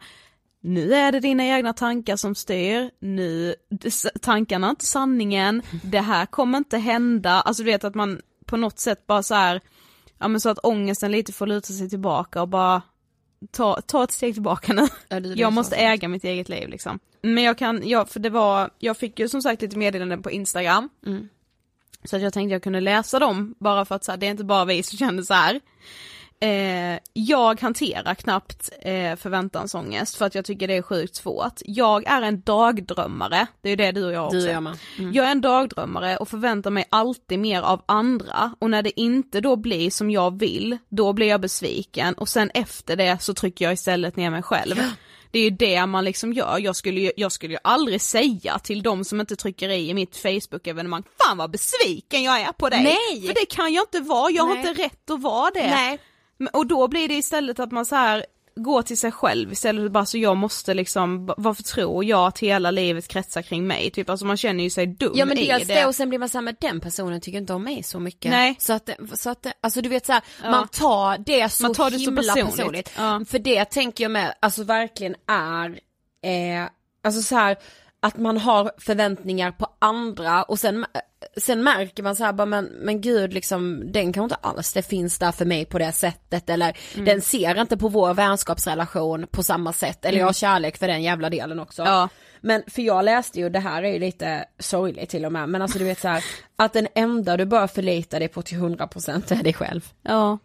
Speaker 4: nu är det dina egna tankar som styr, nu, s- tankarna är inte sanningen, det här kommer inte hända, alltså du vet att man på något sätt bara så här, ja men så att ångesten lite får luta sig tillbaka och bara ta, ta ett steg tillbaka nu.
Speaker 3: Ja, det är det
Speaker 4: jag
Speaker 3: som
Speaker 4: måste
Speaker 3: är sant.
Speaker 4: äga mitt eget liv liksom. Men jag kan, ja, för det var, jag fick ju som sagt lite meddelanden på Instagram.
Speaker 3: Mm.
Speaker 4: Så att jag tänkte jag kunde läsa dem bara för att så här, det är inte bara vi som känner så här. Eh, jag hanterar knappt eh, förväntansångest för att jag tycker det är sjukt svårt. Jag är en dagdrömmare, det är ju det du och jag också.
Speaker 3: Du och jag med. Mm.
Speaker 4: Jag är en dagdrömmare och förväntar mig alltid mer av andra och när det inte då blir som jag vill, då blir jag besviken och sen efter det så trycker jag istället ner mig själv. Det är ju det man liksom gör, jag skulle ju, jag skulle ju aldrig säga till de som inte trycker i i mitt Facebook-evenemang, fan vad besviken jag är på dig!
Speaker 3: Nej!
Speaker 4: För det kan jag inte vara, jag har
Speaker 3: Nej.
Speaker 4: inte rätt att vara det.
Speaker 3: Nej.
Speaker 4: Men- Och då blir det istället att man så här går till sig själv istället för bara så jag måste liksom, va- varför tror jag att hela livet kretsar kring mig? Typ alltså man känner ju sig dum
Speaker 3: Ja men
Speaker 4: i
Speaker 3: dels det och sen blir man såhär, men den personen tycker inte om mig så mycket.
Speaker 4: Nej.
Speaker 3: Så att, det- så att det- alltså du vet såhär, man tar det så
Speaker 4: Man tar det så
Speaker 3: himla
Speaker 4: personligt.
Speaker 3: personligt.
Speaker 4: Ja.
Speaker 3: För det tänker jag med, alltså verkligen är, eh, alltså så här att man har förväntningar på andra och sen, eh, sen märker man så här bara men, men gud liksom den kan inte alls det finns där för mig på det sättet eller
Speaker 4: Mm.
Speaker 3: den ser inte på vår vänskapsrelation på samma sätt eller jag har kärlek för den jävla delen också.
Speaker 4: Mm. Ja.
Speaker 3: Men för jag läste ju, det här är ju lite sorgligt till och med, men alltså du vet så här, att den enda du bör förlita dig på till 100% är dig själv.
Speaker 4: Ja.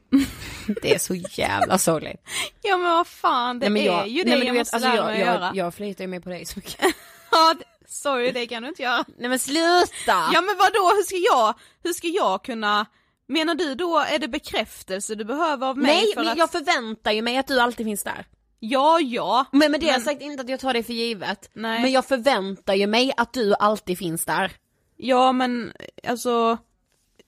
Speaker 3: Det är så jävla sorgligt.
Speaker 4: ja men vad fan det är ju det
Speaker 3: nej,
Speaker 4: jag
Speaker 3: men du vet,
Speaker 4: måste
Speaker 3: alltså,
Speaker 4: lära
Speaker 3: jag,
Speaker 4: mig att
Speaker 3: jag,
Speaker 4: göra.
Speaker 3: Jag förlitar ju mig på dig så mycket.
Speaker 4: Ja, det- sorry det kan du inte göra.
Speaker 3: Nej men sluta!
Speaker 4: Ja men vadå, hur ska jag, hur ska jag kunna, menar du då är det bekräftelse du behöver av mig?
Speaker 3: nej,
Speaker 4: för
Speaker 3: men
Speaker 4: att,
Speaker 3: jag förväntar ju mig att du alltid finns där.
Speaker 4: Ja ja,
Speaker 3: Men med det har jag sagt inte att jag tar det för givet.
Speaker 4: Nej.
Speaker 3: Men jag förväntar ju mig att du alltid finns där.
Speaker 4: Ja men alltså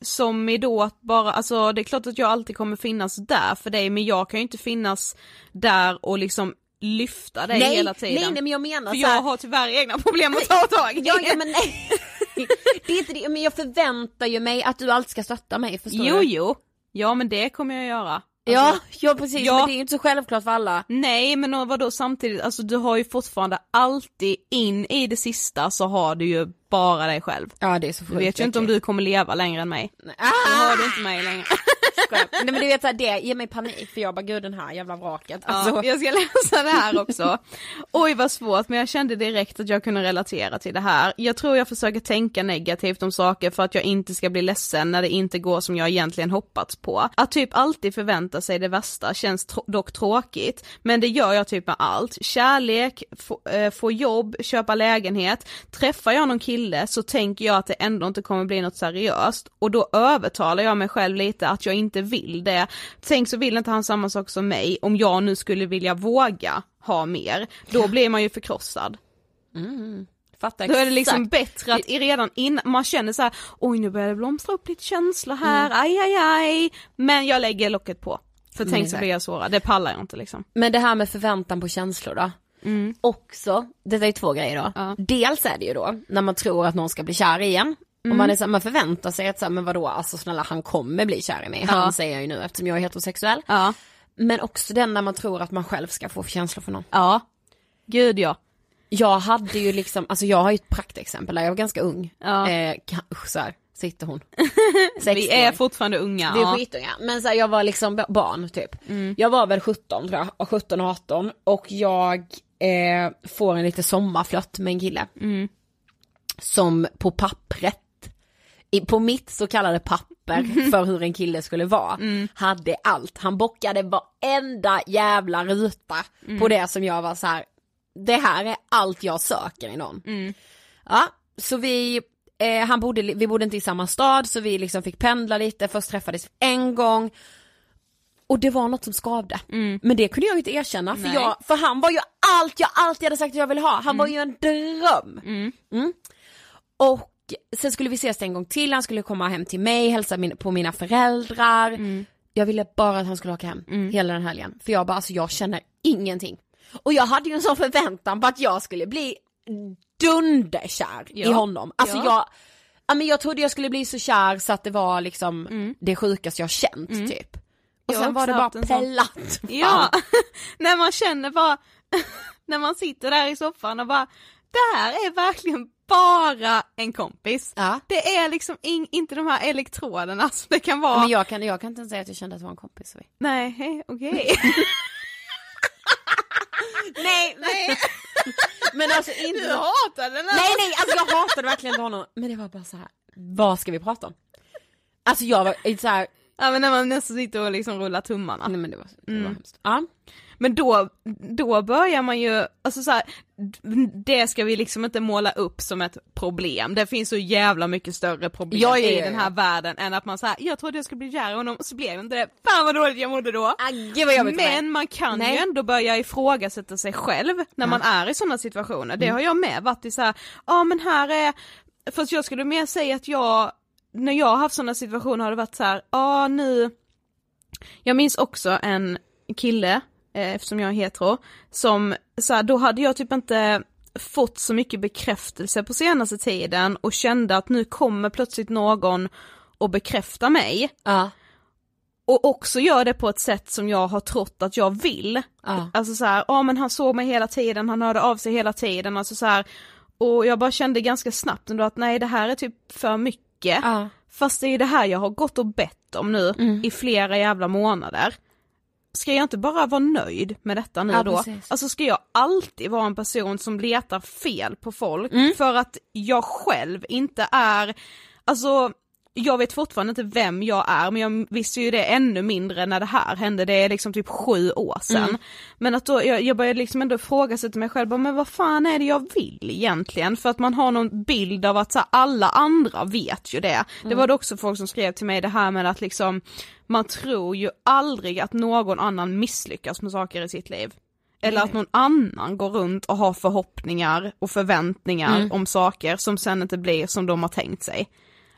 Speaker 4: som i då att bara, alltså det är klart att jag alltid kommer finnas där för dig men jag kan ju inte finnas där och liksom lyfta dig
Speaker 3: nej,
Speaker 4: hela tiden.
Speaker 3: nej, nej men jag menar
Speaker 4: för
Speaker 3: så här,
Speaker 4: jag har tyvärr egna problem att ta tag i.
Speaker 3: Ja, ja men nej. Det är inte det, men jag förväntar ju mig att du alltid ska stötta mig, förstår
Speaker 4: Jo
Speaker 3: du?
Speaker 4: jo, ja men det kommer jag göra.
Speaker 3: Ja, ja precis,
Speaker 4: Ja.
Speaker 3: men det är ju inte så självklart för alla.
Speaker 4: Nej men vadå samtidigt, alltså du har ju fortfarande alltid in i det sista så har du ju bara dig själv.
Speaker 3: Ja det är så sjukt.
Speaker 4: Du vet ju inte om
Speaker 3: äckligt.
Speaker 4: du kommer leva längre än mig. Då
Speaker 3: Ah,
Speaker 4: har du inte mig längre.
Speaker 3: skojar. Nej men du vet såhär, det ger mig panik för jag bara gud den här jävla vraket. Alltså,
Speaker 4: Ja, jag ska läsa det här också. Oj vad svårt men jag kände direkt att jag kunde relatera till det här. Jag tror jag försöker tänka negativt om saker för att jag inte ska bli ledsen när det inte går som jag egentligen hoppats på. Att typ alltid förvänta sig det värsta känns tr- dock tråkigt men det gör jag typ med allt. Kärlek, få, eh, få jobb, köpa lägenhet. Träffar jag någon kille så tänker jag att det ändå inte kommer bli något seriöst och då övertalar jag mig själv lite att jag inte vill det. Tänk så vill inte han samma sak som mig om jag nu skulle vilja våga ha mer, då blir man ju förkrossad.
Speaker 3: fattar
Speaker 4: Då är det liksom
Speaker 3: exakt.
Speaker 4: bättre att i- redan innan, man känner så här, oj nu börjar det blomstra upp lite känslor här, aj aj aj, men jag lägger locket på. För tänk så
Speaker 3: exakt.
Speaker 4: blir jag sårad, det pallar jag inte liksom.
Speaker 3: Men det här med förväntan på känslor då.
Speaker 4: Mm.
Speaker 3: Också, detta är två grejer då. Dels är det ju då när man tror att någon ska bli kär igen.
Speaker 4: Mm.
Speaker 3: Och man, är så här, man förväntar sig att så här, men vadå, alltså snälla han kommer bli kär i mig. Han säger jag ju nu eftersom jag är heterosexuell.
Speaker 4: Ja.
Speaker 3: Men också den när man tror att man själv ska få känslor för någon.
Speaker 4: Ja. Gud ja.
Speaker 3: Jag hade ju liksom, alltså jag har ju ett praktexempel där jag var ganska ung.
Speaker 4: Ja.
Speaker 3: Eh, ka- usch, så här sitter hon.
Speaker 4: Vi är fortfarande unga.
Speaker 3: Vi är
Speaker 4: ja.
Speaker 3: skitunga, men så här, jag var liksom ba- barn typ. Jag var väl 17 tror jag, 17 och 18 och jag eh, får en lite sommarflört med en kille. Som på pappret, i, på mitt så kallade papper för hur en kille skulle vara, hade allt. Han bockade varenda jävla ruta på det som jag var så här. det här är allt jag söker i någon. Ja, så vi eh, han bodde, li- vi bodde inte i samma stad så vi liksom fick pendla lite, först träffades vi en gång och det var något som skavde. Men det kunde jag ju inte erkänna för,
Speaker 5: Nej.
Speaker 3: jag, för han var ju allt jag alltid hade sagt att jag ville ha, han var ju en dröm. Mm. Och sen skulle vi ses en gång till, han skulle komma hem till mig, hälsa min, på mina föräldrar.
Speaker 4: Mm.
Speaker 3: Jag ville bara att han skulle åka hem hela den helgen. För jag bara, alltså jag känner ingenting. Och jag hade ju en sån förväntan på att jag skulle bli dunderkär i honom. Alltså jag, ja, men jag trodde jag skulle bli så kär så att det var liksom det sjukaste jag känt typ. Och
Speaker 4: Mm. Jag har
Speaker 3: sen var
Speaker 4: också
Speaker 3: det bara
Speaker 4: haft en sån.
Speaker 3: platt.
Speaker 4: Ja, när man känner bara, när man sitter där i soffan och bara, det här är verkligen bara en kompis.
Speaker 3: Ja.
Speaker 4: Det är liksom in, inte de här elektroderna som det kan vara.
Speaker 3: Men jag kan, jag kan inte ens säga att jag kände att det var en kompis.
Speaker 4: Nej, hej, okej.
Speaker 3: Nej, nej. men alltså inte
Speaker 4: Du hatar den här.
Speaker 3: Nej nej, alltså jag hatade verkligen honom. Men det var bara så här. vad ska vi prata om? Alltså jag var så här.
Speaker 4: Ja men när man nästan sitter och liksom rullar tummarna.
Speaker 3: nej men det var, det var hemskt. Ja.
Speaker 4: Men då, då börjar man ju, alltså så här, d- det ska vi liksom inte måla upp som ett problem. Det finns så jävla mycket större problem
Speaker 3: Ja, ja,
Speaker 4: i
Speaker 3: ja,
Speaker 4: den
Speaker 3: ja.
Speaker 4: här världen än att man säger jag trodde jag skulle bli kär i honom och så blev jag inte det. Fan vad dåligt jag mådde då.
Speaker 3: Ah, gud vad jobbigt för mig.
Speaker 4: Men man kan
Speaker 3: Nej.
Speaker 4: ju ändå börja ifrågasätta sig själv när man är i sådana situationer.
Speaker 3: Mm.
Speaker 4: Det har jag med varit i så här, ja ah, men här är, fast jag skulle mer säga att jag, när jag har haft sådana situationer har det varit så här, ja nu, jag minns också en kille, eh, eftersom jag är hetero, som så här, då hade jag typ inte fått så mycket bekräftelse på senaste tiden och kände att nu kommer plötsligt någon och bekräfta mig
Speaker 3: Ja,
Speaker 4: och också gör det på ett sätt som jag har trott att jag vill.
Speaker 3: ja.
Speaker 4: Alltså så här, ja men han såg mig hela tiden, han hörde av sig hela tiden, alltså så här. Och jag bara kände ganska snabbt ändå att nej det här är typ för mycket.
Speaker 3: Ja. Mm.
Speaker 4: Fast det är ju det här jag har gått och bett om nu i flera jävla månader. Ska jag inte bara vara nöjd med detta nu
Speaker 3: Ja,
Speaker 4: då?
Speaker 3: precis.
Speaker 4: Alltså ska jag alltid vara en person som letar fel på folk
Speaker 3: Mm.
Speaker 4: för att jag själv inte är, alltså jag vet fortfarande inte vem jag är men jag visste ju det ännu mindre när det här hände, det är liksom typ sju år sedan. Men att då, jag, jag började liksom ändå ifrågasätta mig själv, bara, men vad fan är det jag vill egentligen? För att man har någon bild av att så här, alla andra vet ju det. Det var det också folk som skrev till mig det här med att liksom man tror ju aldrig att någon annan misslyckas med saker i sitt liv. Eller att någon annan går runt och har förhoppningar och förväntningar om saker som sen inte blir som de har tänkt sig.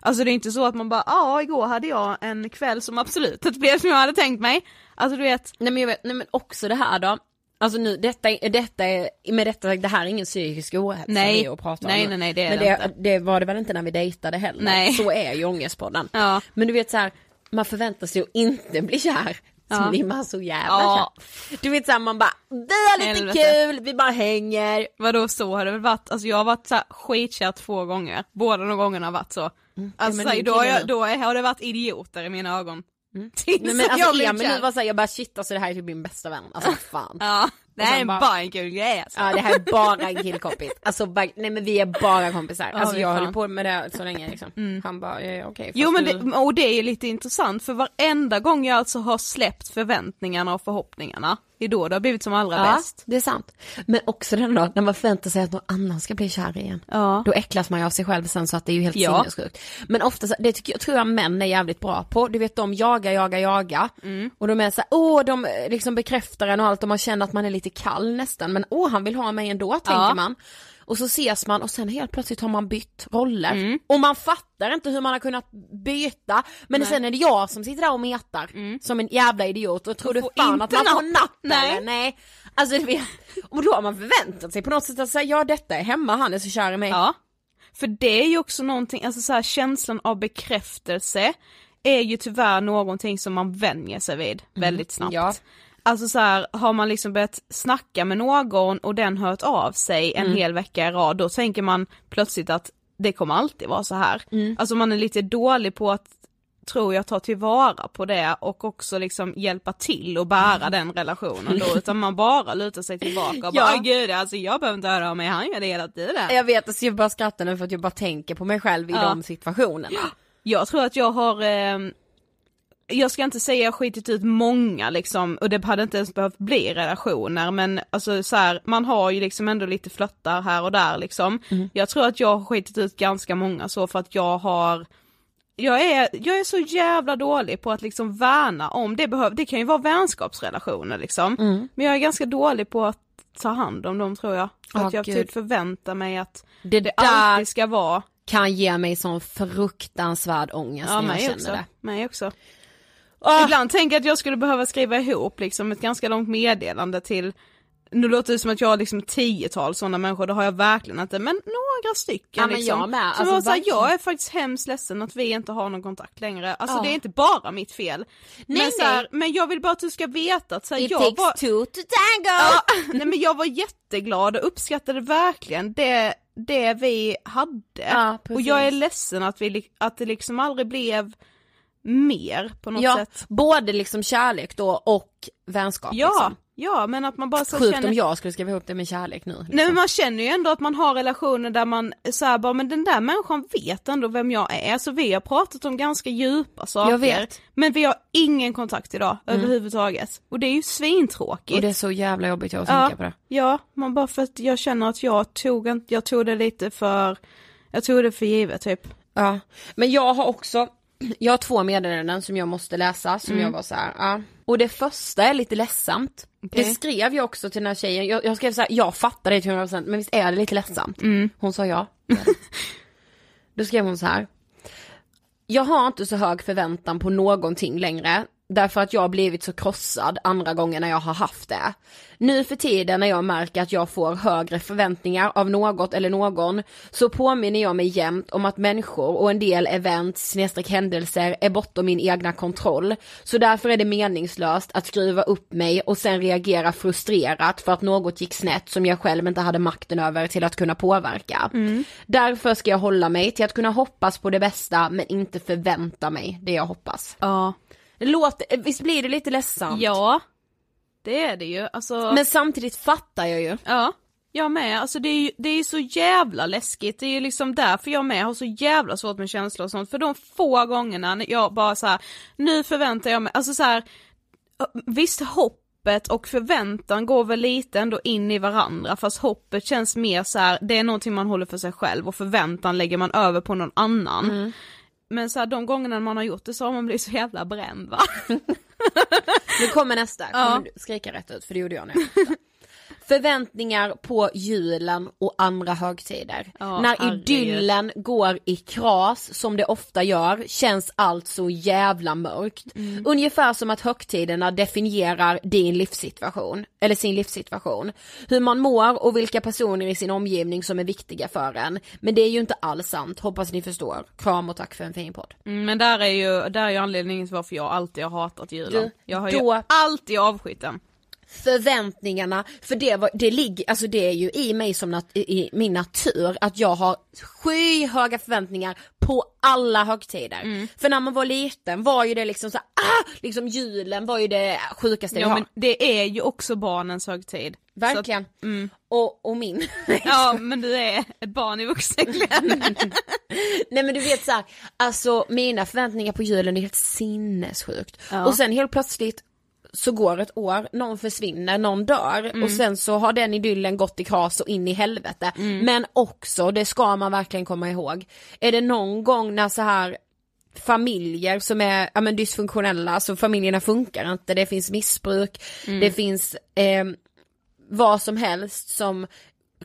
Speaker 4: Alltså det är inte så att man bara, ja igår hade jag en kväll som absolut inte blev som jag hade tänkt mig. Alltså du vet,
Speaker 3: Nej men jag vet, nej men också det här då. Alltså nu, detta, är- detta är, med detta sagt, det här är ingen psykisk ohälsa
Speaker 4: Nej.
Speaker 3: vi är och pratar
Speaker 4: Nej,
Speaker 3: om.
Speaker 4: nej, nej, det är
Speaker 3: men
Speaker 4: det
Speaker 3: det, det var det väl inte när vi dejtade heller.
Speaker 4: Nej.
Speaker 3: Så är ju ångestpodden.
Speaker 4: Ja.
Speaker 3: Men du vet så här, man förväntar sig att inte bli kär. Så
Speaker 4: Ja.
Speaker 3: blir man så jävla
Speaker 4: Ja.
Speaker 3: kär. Du vet såhär man bara, vi har lite
Speaker 4: Helvete.
Speaker 3: kul, vi bara hänger.
Speaker 4: vadå så har det väl varit, alltså jag har varit så här skitkär två gånger, båda de gångerna har varit så. Alltså
Speaker 3: Mm. men
Speaker 4: så här,
Speaker 3: din
Speaker 4: då, har
Speaker 3: kille
Speaker 4: jag,
Speaker 3: nu.
Speaker 4: då är- har det varit idioter i mina ögon. Tills
Speaker 3: Nej, men
Speaker 4: att jag
Speaker 3: alltså
Speaker 4: blev
Speaker 3: Emil
Speaker 4: kär.
Speaker 3: var såhär, jag bara shit alltså det här är typ min bästa vän. Alltså fan.
Speaker 4: Ja, det här är
Speaker 3: sen
Speaker 4: bara...
Speaker 3: bara-
Speaker 4: en kul grej alltså.
Speaker 3: Ja det här är bara en killkompis. Alltså bara, nej men vi är bara kompisar. alltså
Speaker 4: vi är
Speaker 3: jag höll
Speaker 4: fan. Mm.
Speaker 3: ju på med det så länge liksom. Han bara, ja, ja, okej.
Speaker 4: Jo
Speaker 3: fast
Speaker 4: men
Speaker 3: du-
Speaker 4: det, och det är ju lite intressant för varenda gång jag alltså har släppt förväntningarna och förhoppningarna, det är då det har blivit som allra
Speaker 3: ja,
Speaker 4: bäst.
Speaker 3: det är sant. Men också den då, när man förväntar sig att någon annan ska bli kär igen.
Speaker 4: Ja.
Speaker 3: Då äcklas man ju av sig själv sen så att det är ju helt
Speaker 4: Ja.
Speaker 3: sinnessjukt. Men ofta, så- det tycker jag, tror jag män är jävligt bra på. Du vet de jagar, jagar, jagar.
Speaker 4: Mm.
Speaker 3: Och de är såhär, åh de eh, liksom bekräftar en och allt och man känner att man är lite kall nästan. Men åh han vill ha mig ändå tänker man. Och så ses man och sen helt plötsligt har man bytt roller.
Speaker 4: Mm.
Speaker 3: Och man fattar inte hur man har kunnat byta. Men sen är det jag som sitter där och metar som en jävla idiot och tror du
Speaker 4: Mm. får
Speaker 3: fan
Speaker 4: inte
Speaker 3: att man får
Speaker 4: napp.
Speaker 3: napp
Speaker 4: Nej.
Speaker 3: eller? Nej. Alltså du vet, och då har man förväntat sig på något sätt att säga ja detta är hemma, han är så kär i mig.
Speaker 4: Ja. För det är ju också någonting, alltså så här, känslan av bekräftelse är ju tyvärr någonting som man vänjer sig vid väldigt snabbt.
Speaker 3: Mhm. Ja.
Speaker 4: Alltså så här, har man liksom börjat snacka med någon och den hört av sig en
Speaker 3: Mm.
Speaker 4: hel vecka i rad, då tänker man plötsligt att det kommer alltid vara så här.
Speaker 3: Mm.
Speaker 4: Alltså man är lite dålig på att, tror jag, ta tillvara på det och också liksom hjälpa till och bära den relationen då, utan man bara lutar sig tillbaka och bara,
Speaker 3: Ja.
Speaker 4: ja. gud alltså jag behöver inte höra av mig, han gör det hela tiden.
Speaker 3: Jag vet, alltså jag bara skrattar nu för att jag bara tänker på mig själv i
Speaker 4: Ja.
Speaker 3: de situationerna.
Speaker 4: Jag tror att jag har eh, jag ska inte säga jag skitit ut många liksom, och det hade inte ens behövt bli relationer, men alltså så här, man har ju liksom ändå lite flörtar här och där liksom.
Speaker 3: Mm.
Speaker 4: Jag tror att jag har skitit ut ganska många så för att jag har jag är, jag är så jävla dålig på att liksom värna om, det, behöv, det kan ju vara vänskapsrelationer liksom,
Speaker 3: Mm.
Speaker 4: men jag är ganska dålig på att ta hand om dem tror jag. För
Speaker 3: Ja,
Speaker 4: att jag
Speaker 3: gud.
Speaker 4: typ förväntar mig att
Speaker 3: Det
Speaker 4: det
Speaker 3: där
Speaker 4: alltid ska vara.
Speaker 3: kan ge mig sån fruktansvärd ångest när jag
Speaker 4: mig
Speaker 3: känner
Speaker 4: också.
Speaker 3: det. Ah.
Speaker 4: Mig också. Ibland tänker jag att jag skulle behöva skriva ihop liksom ett ganska långt meddelande till, nu låter det som att jag har liksom tiotal sådana människor, det har jag verkligen inte, men några stycken.
Speaker 3: Ja, men
Speaker 4: liksom.
Speaker 3: jag med.
Speaker 4: Som
Speaker 3: Alltså,
Speaker 4: var så här,
Speaker 3: verkligen.
Speaker 4: jag är faktiskt hemskt ledsen att vi inte har någon kontakt längre, alltså
Speaker 3: Ja.
Speaker 4: det är inte bara mitt fel. men,
Speaker 3: Ah. Nej,
Speaker 4: så här, men jag vill bara att du ska veta att så här,
Speaker 3: It
Speaker 4: jag
Speaker 3: takes
Speaker 4: var,
Speaker 3: two to tango!
Speaker 4: Ja, nej men jag var jätteglad och uppskattade verkligen det, det vi hade.
Speaker 3: Ja, precis.
Speaker 4: och jag är ledsen att, vi, li- att det liksom aldrig blev mer på något
Speaker 3: ja,
Speaker 4: sätt.
Speaker 3: både liksom kärlek då och vänskap.
Speaker 4: Ja,
Speaker 3: liksom.
Speaker 4: ja men att man bara så
Speaker 3: Sjukt
Speaker 4: känner,
Speaker 3: om jag skulle skriva ihop det med kärlek nu. Liksom.
Speaker 4: nej men man känner ju ändå att man har relationer där man så här, bara, men den där människan vet ändå vem jag är, alltså vi har pratat om ganska djupa saker.
Speaker 3: Jag vet. Mm.
Speaker 4: Men vi har ingen kontakt idag överhuvudtaget. Och det är ju svintråkigt.
Speaker 3: Och det är så jävla jobbigt jag att
Speaker 4: Ja.
Speaker 3: tänka på det.
Speaker 4: Ja, man bara för att jag känner att jag tog, en- jag tog det lite för, jag tog det för givet typ.
Speaker 3: Ja. Men jag har också, jag har två meddelanden som jag måste läsa som jag var så här, ja. Och det första är lite ledsamt. Det skrev jag också till den här tjejen, jag, jag skrev så här, jag fattar det till 100% men visst är det lite ledsamt? Hon sa ja. Då skrev hon så här. Jag har inte så hög förväntan på någonting längre. Därför att jag har blivit så krossad andra gånger när jag har haft det. Nu för tiden när jag märker att jag får högre förväntningar av något eller någon så påminner jag mig jämt om att människor och en del event snedstreck händelser är bortom min egna kontroll. Så därför är det meningslöst att skriva upp mig och sen reagera frustrerat för att något gick snett som jag själv inte hade makten över till att kunna påverka. Därför ska jag hålla mig till att kunna hoppas på det bästa men inte förvänta mig det jag hoppas.
Speaker 4: Ja.
Speaker 3: Det låter, visst blir det lite ledsamt?
Speaker 4: Ja, det är det ju. Alltså,
Speaker 3: Men samtidigt fattar jag ju.
Speaker 4: ja, jag med. Alltså det är ju det är ju så jävla läskigt. Det är ju liksom därför jag med har så jävla svårt med känslor och sånt. För de få gångerna när jag bara så här, nu förväntar jag mig, alltså så här, visst hoppet och förväntan går väl lite ändå in i varandra fast hoppet känns mer så här, det är någonting man håller för sig själv och förväntan lägger man över på någon annan. Men så här, de gångerna man har gjort det så har man blivit så jävla bränd va?
Speaker 3: Nu kommer nästa, kommer du skrika rätt ut för det gjorde jag nu. Förväntningar på julen och andra högtider.
Speaker 4: Ja,
Speaker 3: När
Speaker 4: herregud.
Speaker 3: idyllen går i kras som det ofta gör känns allt så jävla mörkt.
Speaker 4: Mm.
Speaker 3: Ungefär som att högtiderna definierar din livssituation, eller sin livssituation. Hur man mår och vilka personer i sin omgivning som är viktiga för en. Men det är ju inte alls sant, hoppas ni förstår. Kram och tack för en fin podd.
Speaker 4: Mm, Men där är ju, där är ju anledningen till varför jag alltid har hatat julen.
Speaker 3: Du,
Speaker 4: jag har ju
Speaker 3: då-
Speaker 4: alltid avskytt den.
Speaker 3: förväntningarna, för det, var, det ligger, alltså det är ju i mig som nat- i, i min natur att jag har skyhöga förväntningar på alla högtider.
Speaker 4: Mm.
Speaker 3: För när man var liten var ju det liksom så här, ah, liksom julen var ju det sjukaste vi
Speaker 4: Ja
Speaker 3: har.
Speaker 4: men det är ju också barnens högtid.
Speaker 3: Verkligen.
Speaker 4: Så att, mm.
Speaker 3: Och, och min.
Speaker 4: Ja men du är ett barn i vuxenkläder.
Speaker 3: Nej men du vet så här, alltså mina förväntningar på julen är helt sinnessjukt. Och sen helt plötsligt så går ett år, någon försvinner, någon dör
Speaker 4: Mm.
Speaker 3: och sen så har den idyllen gått i kras och in i helvete.
Speaker 4: Mm.
Speaker 3: Men också, det ska man verkligen komma ihåg, är det någon gång när så här familjer som är ja, men dysfunktionella, alltså familjerna funkar inte, det finns missbruk,
Speaker 4: Mm.
Speaker 3: det finns eh, vad som helst som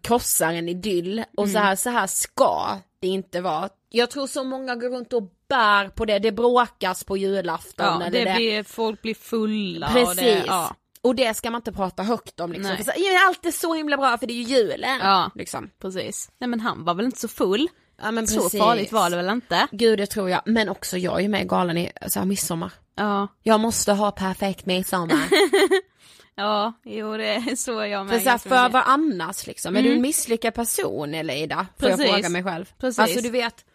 Speaker 3: krossar en idyll och
Speaker 4: Mm.
Speaker 3: så, här, så här ska det inte vara. Jag tror så många går runt och bär på det, det bråkas på julafton
Speaker 4: Ja,
Speaker 3: eller
Speaker 4: det
Speaker 3: det.
Speaker 4: Blir, folk blir fulla och
Speaker 3: Precis.
Speaker 4: det, ja.
Speaker 3: Och det ska man inte prata högt om liksom.
Speaker 4: Nej.
Speaker 3: För så, ja, allt är så himla bra för det är ju julen.
Speaker 4: Ja.
Speaker 3: Liksom.
Speaker 4: Precis. Nej men han var väl inte så full?
Speaker 3: Ja, men
Speaker 4: Så farligt var det väl inte?
Speaker 3: Gud det tror jag, men också jag är ju med i galan i så här, midsommar.
Speaker 4: Ja,
Speaker 3: Jag måste ha perfekt midsommar.
Speaker 4: ja, jo det är så jag med.
Speaker 3: för så här,
Speaker 4: ganska
Speaker 3: för
Speaker 4: mycket.
Speaker 3: vad annars liksom? Är du en misslyckad person eller Ida? Får
Speaker 4: Mm. Precis.
Speaker 3: jag fråga mig själv.
Speaker 4: Precis.
Speaker 3: Alltså du vet,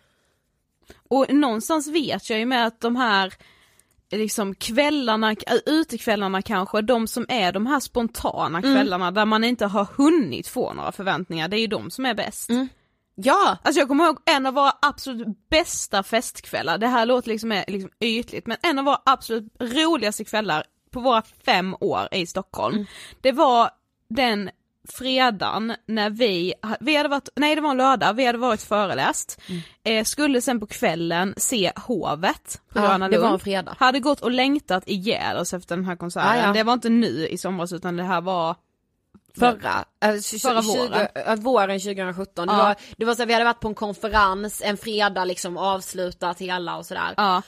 Speaker 4: Och någonstans vet jag ju med att de här liksom kvällarna, äh, utekvällarna kanske, de som är de här spontana kvällarna där man inte har hunnit få några förväntningar, det är ju de som är bäst.
Speaker 3: Ja!
Speaker 4: Alltså jag kommer ihåg en av våra absolut bästa festkvällar, det här låter liksom, är liksom ytligt, men en av våra absolut roligaste kvällar på våra fem år i Stockholm,
Speaker 3: Mm.
Speaker 4: det var den fredagen när vi, vi hade varit, nej det var en lördag, vi hade varit föreläst,
Speaker 3: Mm.
Speaker 4: eh, skulle sen på kvällen se Hovet på
Speaker 3: Ja,
Speaker 4: Gröna
Speaker 3: det var
Speaker 4: Lund.
Speaker 3: en fredag.
Speaker 4: Hade gått och längtat ihjäl oss efter den här konserten,
Speaker 3: Ja, ja.
Speaker 4: det var inte nu i somras utan det här var
Speaker 3: Förra, alltså,
Speaker 4: Förra våren.
Speaker 3: våren. våren 2017. Det
Speaker 4: Ja.
Speaker 3: var, det var så här, vi hade varit på en konferens en fredag liksom avslutat hela och sådär.
Speaker 4: Ja.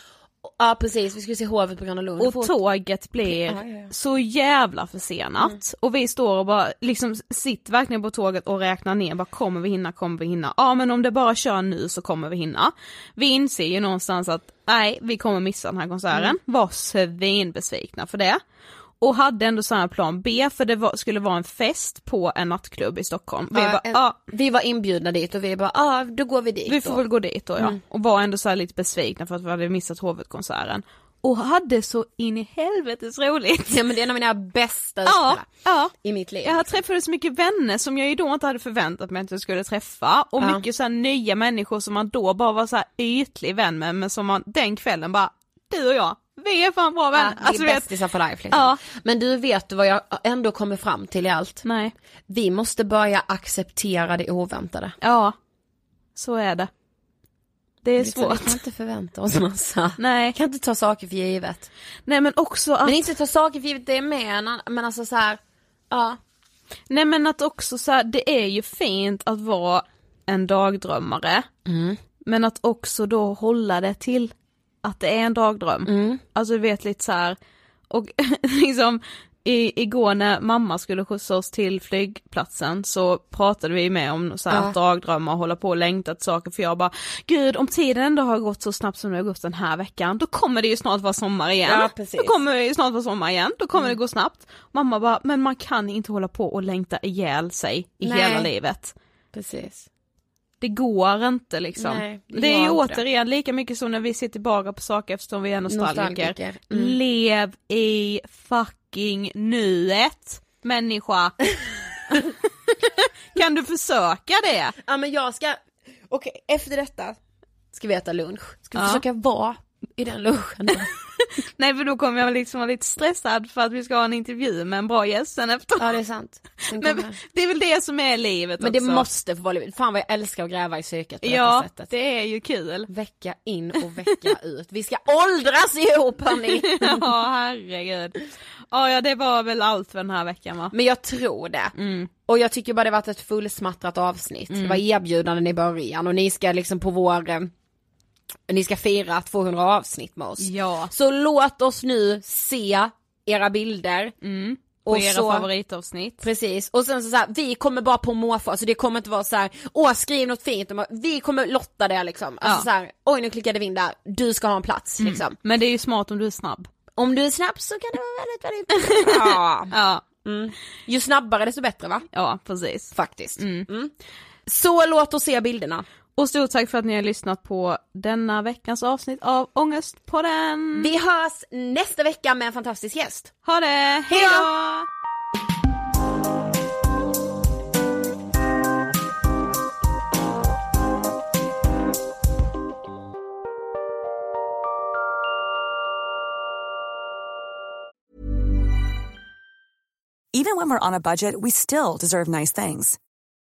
Speaker 3: Ja precis, vi skulle se hovet på Gröna Lund.
Speaker 4: Och
Speaker 3: Får-
Speaker 4: tåget blir
Speaker 3: Ja, Mm. ja, ja.
Speaker 4: så jävla försenat och vi står och bara liksom sitter verkligen på tåget och räknar ner, bara kommer vi hinna, kommer vi hinna? Ja men om det bara kör nu så kommer vi hinna. Vi inser ju någonstans att nej vi kommer missa den här konserten,
Speaker 3: Mm.
Speaker 4: var svinbesvikna för det. Och hade ändå samma plan B för det var, skulle vara en fest på en nattklubb i Stockholm. Vi
Speaker 3: Ja,
Speaker 4: bara,
Speaker 3: en-
Speaker 4: ja
Speaker 3: Vi var inbjudna dit och vi bara, ja då går vi dit
Speaker 4: vi får
Speaker 3: då. Mm.
Speaker 4: väl gå dit då ja. Och var ändå så här lite besvikna för att vi hade missat huvudkonserten. Och hade så in i helvetes roligt.
Speaker 3: Ja men det är en av mina bästa
Speaker 4: Ja,
Speaker 3: kvällar
Speaker 4: ja.
Speaker 3: i mitt liv.
Speaker 4: Jag träffade så mycket vänner som jag ju då inte hade förväntat mig att jag skulle träffa och
Speaker 3: Ja.
Speaker 4: mycket så här nya människor som man då bara var så här ytlig vän med men som man den kvällen bara, du och jag, vi är fan bra
Speaker 3: Ja,
Speaker 4: vänner.
Speaker 3: det är
Speaker 4: alltså, du vet,
Speaker 3: bästisar for life liksom.
Speaker 4: Ja.
Speaker 3: Men du vet du vad jag ändå kommer fram till i allt?
Speaker 4: nej,
Speaker 3: Vi måste börja acceptera det oväntade.
Speaker 4: ja, så är det. Det är
Speaker 3: Liksom, Vi
Speaker 4: svårt.
Speaker 3: kan inte förvänta oss massa.
Speaker 4: Nej.
Speaker 3: Vi kan inte ta saker för givet.
Speaker 4: Nej men också att,
Speaker 3: Men inte ta saker för givet, det är med en annan, men alltså så här. ja.
Speaker 4: nej men att också så här, det är ju fint att vara en dagdrömmare
Speaker 3: Mm.
Speaker 4: men att också då hålla det till att det är en dagdröm.
Speaker 3: Mm.
Speaker 4: Alltså du vet lite så här. och liksom i, igår när mamma skulle skjutsa oss till flygplatsen så pratade vi med om så här, att dagdrömmar och hålla på och längta till saker för jag bara gud om tiden ändå har gått så snabbt som det har gått den här veckan då kommer det ju snart vara sommar igen.
Speaker 3: Ja, precis.
Speaker 4: Då kommer det ju snart vara sommar igen, då
Speaker 3: Mm.
Speaker 4: kommer det gå snabbt. Mamma bara men man kan inte hålla på och längta ihjäl sig i
Speaker 3: Nej.
Speaker 4: hela livet.
Speaker 3: Precis.
Speaker 4: Det går inte liksom.
Speaker 3: Nej, det
Speaker 4: det, är
Speaker 3: gör
Speaker 4: ju
Speaker 3: inte det.
Speaker 4: återigen lika mycket som när vi sitter tillbaka på saker eftersom vi är nostalgiker.
Speaker 3: Nostalgiker, mm.
Speaker 4: Lev i fucking nuet människa. kan du försöka det?
Speaker 3: Ja men jag ska, okej efter detta ska vi äta lunch. Ska vi
Speaker 4: Ja.
Speaker 3: försöka vara i den lunchen.
Speaker 4: Nej för då kommer jag liksom vara lite stressad för att vi ska ha en intervju med en bra gäst sen efteråt.
Speaker 3: ja det är sant. Den
Speaker 4: Men
Speaker 3: kommer.
Speaker 4: det är väl det som är livet
Speaker 3: men det
Speaker 4: också.
Speaker 3: måste få vara livet, fan vad jag älskar att gräva i psyket på
Speaker 4: Ja,
Speaker 3: detta sättet.
Speaker 4: det är ju kul.
Speaker 3: Vecka in och vecka ut, vi ska åldras ihop hörni!
Speaker 4: Ja herregud. Ja ja, det var väl allt för den här veckan va?
Speaker 3: Men jag tror det.
Speaker 4: Mm.
Speaker 3: Och jag tycker bara det varit ett fullsmattrat avsnitt. Det var erbjudanden i början och ni ska liksom på vår eh, ni ska fira 200 avsnitt med oss.
Speaker 4: Ja.
Speaker 3: Så låt oss nu se era bilder.
Speaker 4: Mm. På era favoritavsnitt.
Speaker 3: Precis, och sen så, så här, vi kommer bara på måfå, alltså det kommer inte vara så här, åh skriv något fint, De har- vi kommer lotta det liksom. Alltså
Speaker 4: Ja. Mm.
Speaker 3: så här, oj nu klickade vi in där, du ska ha en plats liksom.
Speaker 4: Men det är ju smart om du är snabb.
Speaker 3: Om du är snabb så kan det vara väldigt, väldigt bra. ja. Mm.
Speaker 4: Ja,
Speaker 3: Ju snabbare desto bättre va?
Speaker 4: ja precis.
Speaker 3: Faktiskt. Mm. Så låt oss se bilderna.
Speaker 4: Och stort tack för att ni har lyssnat på denna veckans avsnitt av Ångestpodden.
Speaker 3: Vi hörs nästa vecka med en fantastisk gäst.
Speaker 4: Ha det,
Speaker 3: Hej då!
Speaker 4: hejdå!
Speaker 6: Even when we're on a budget, we still deserve nice things.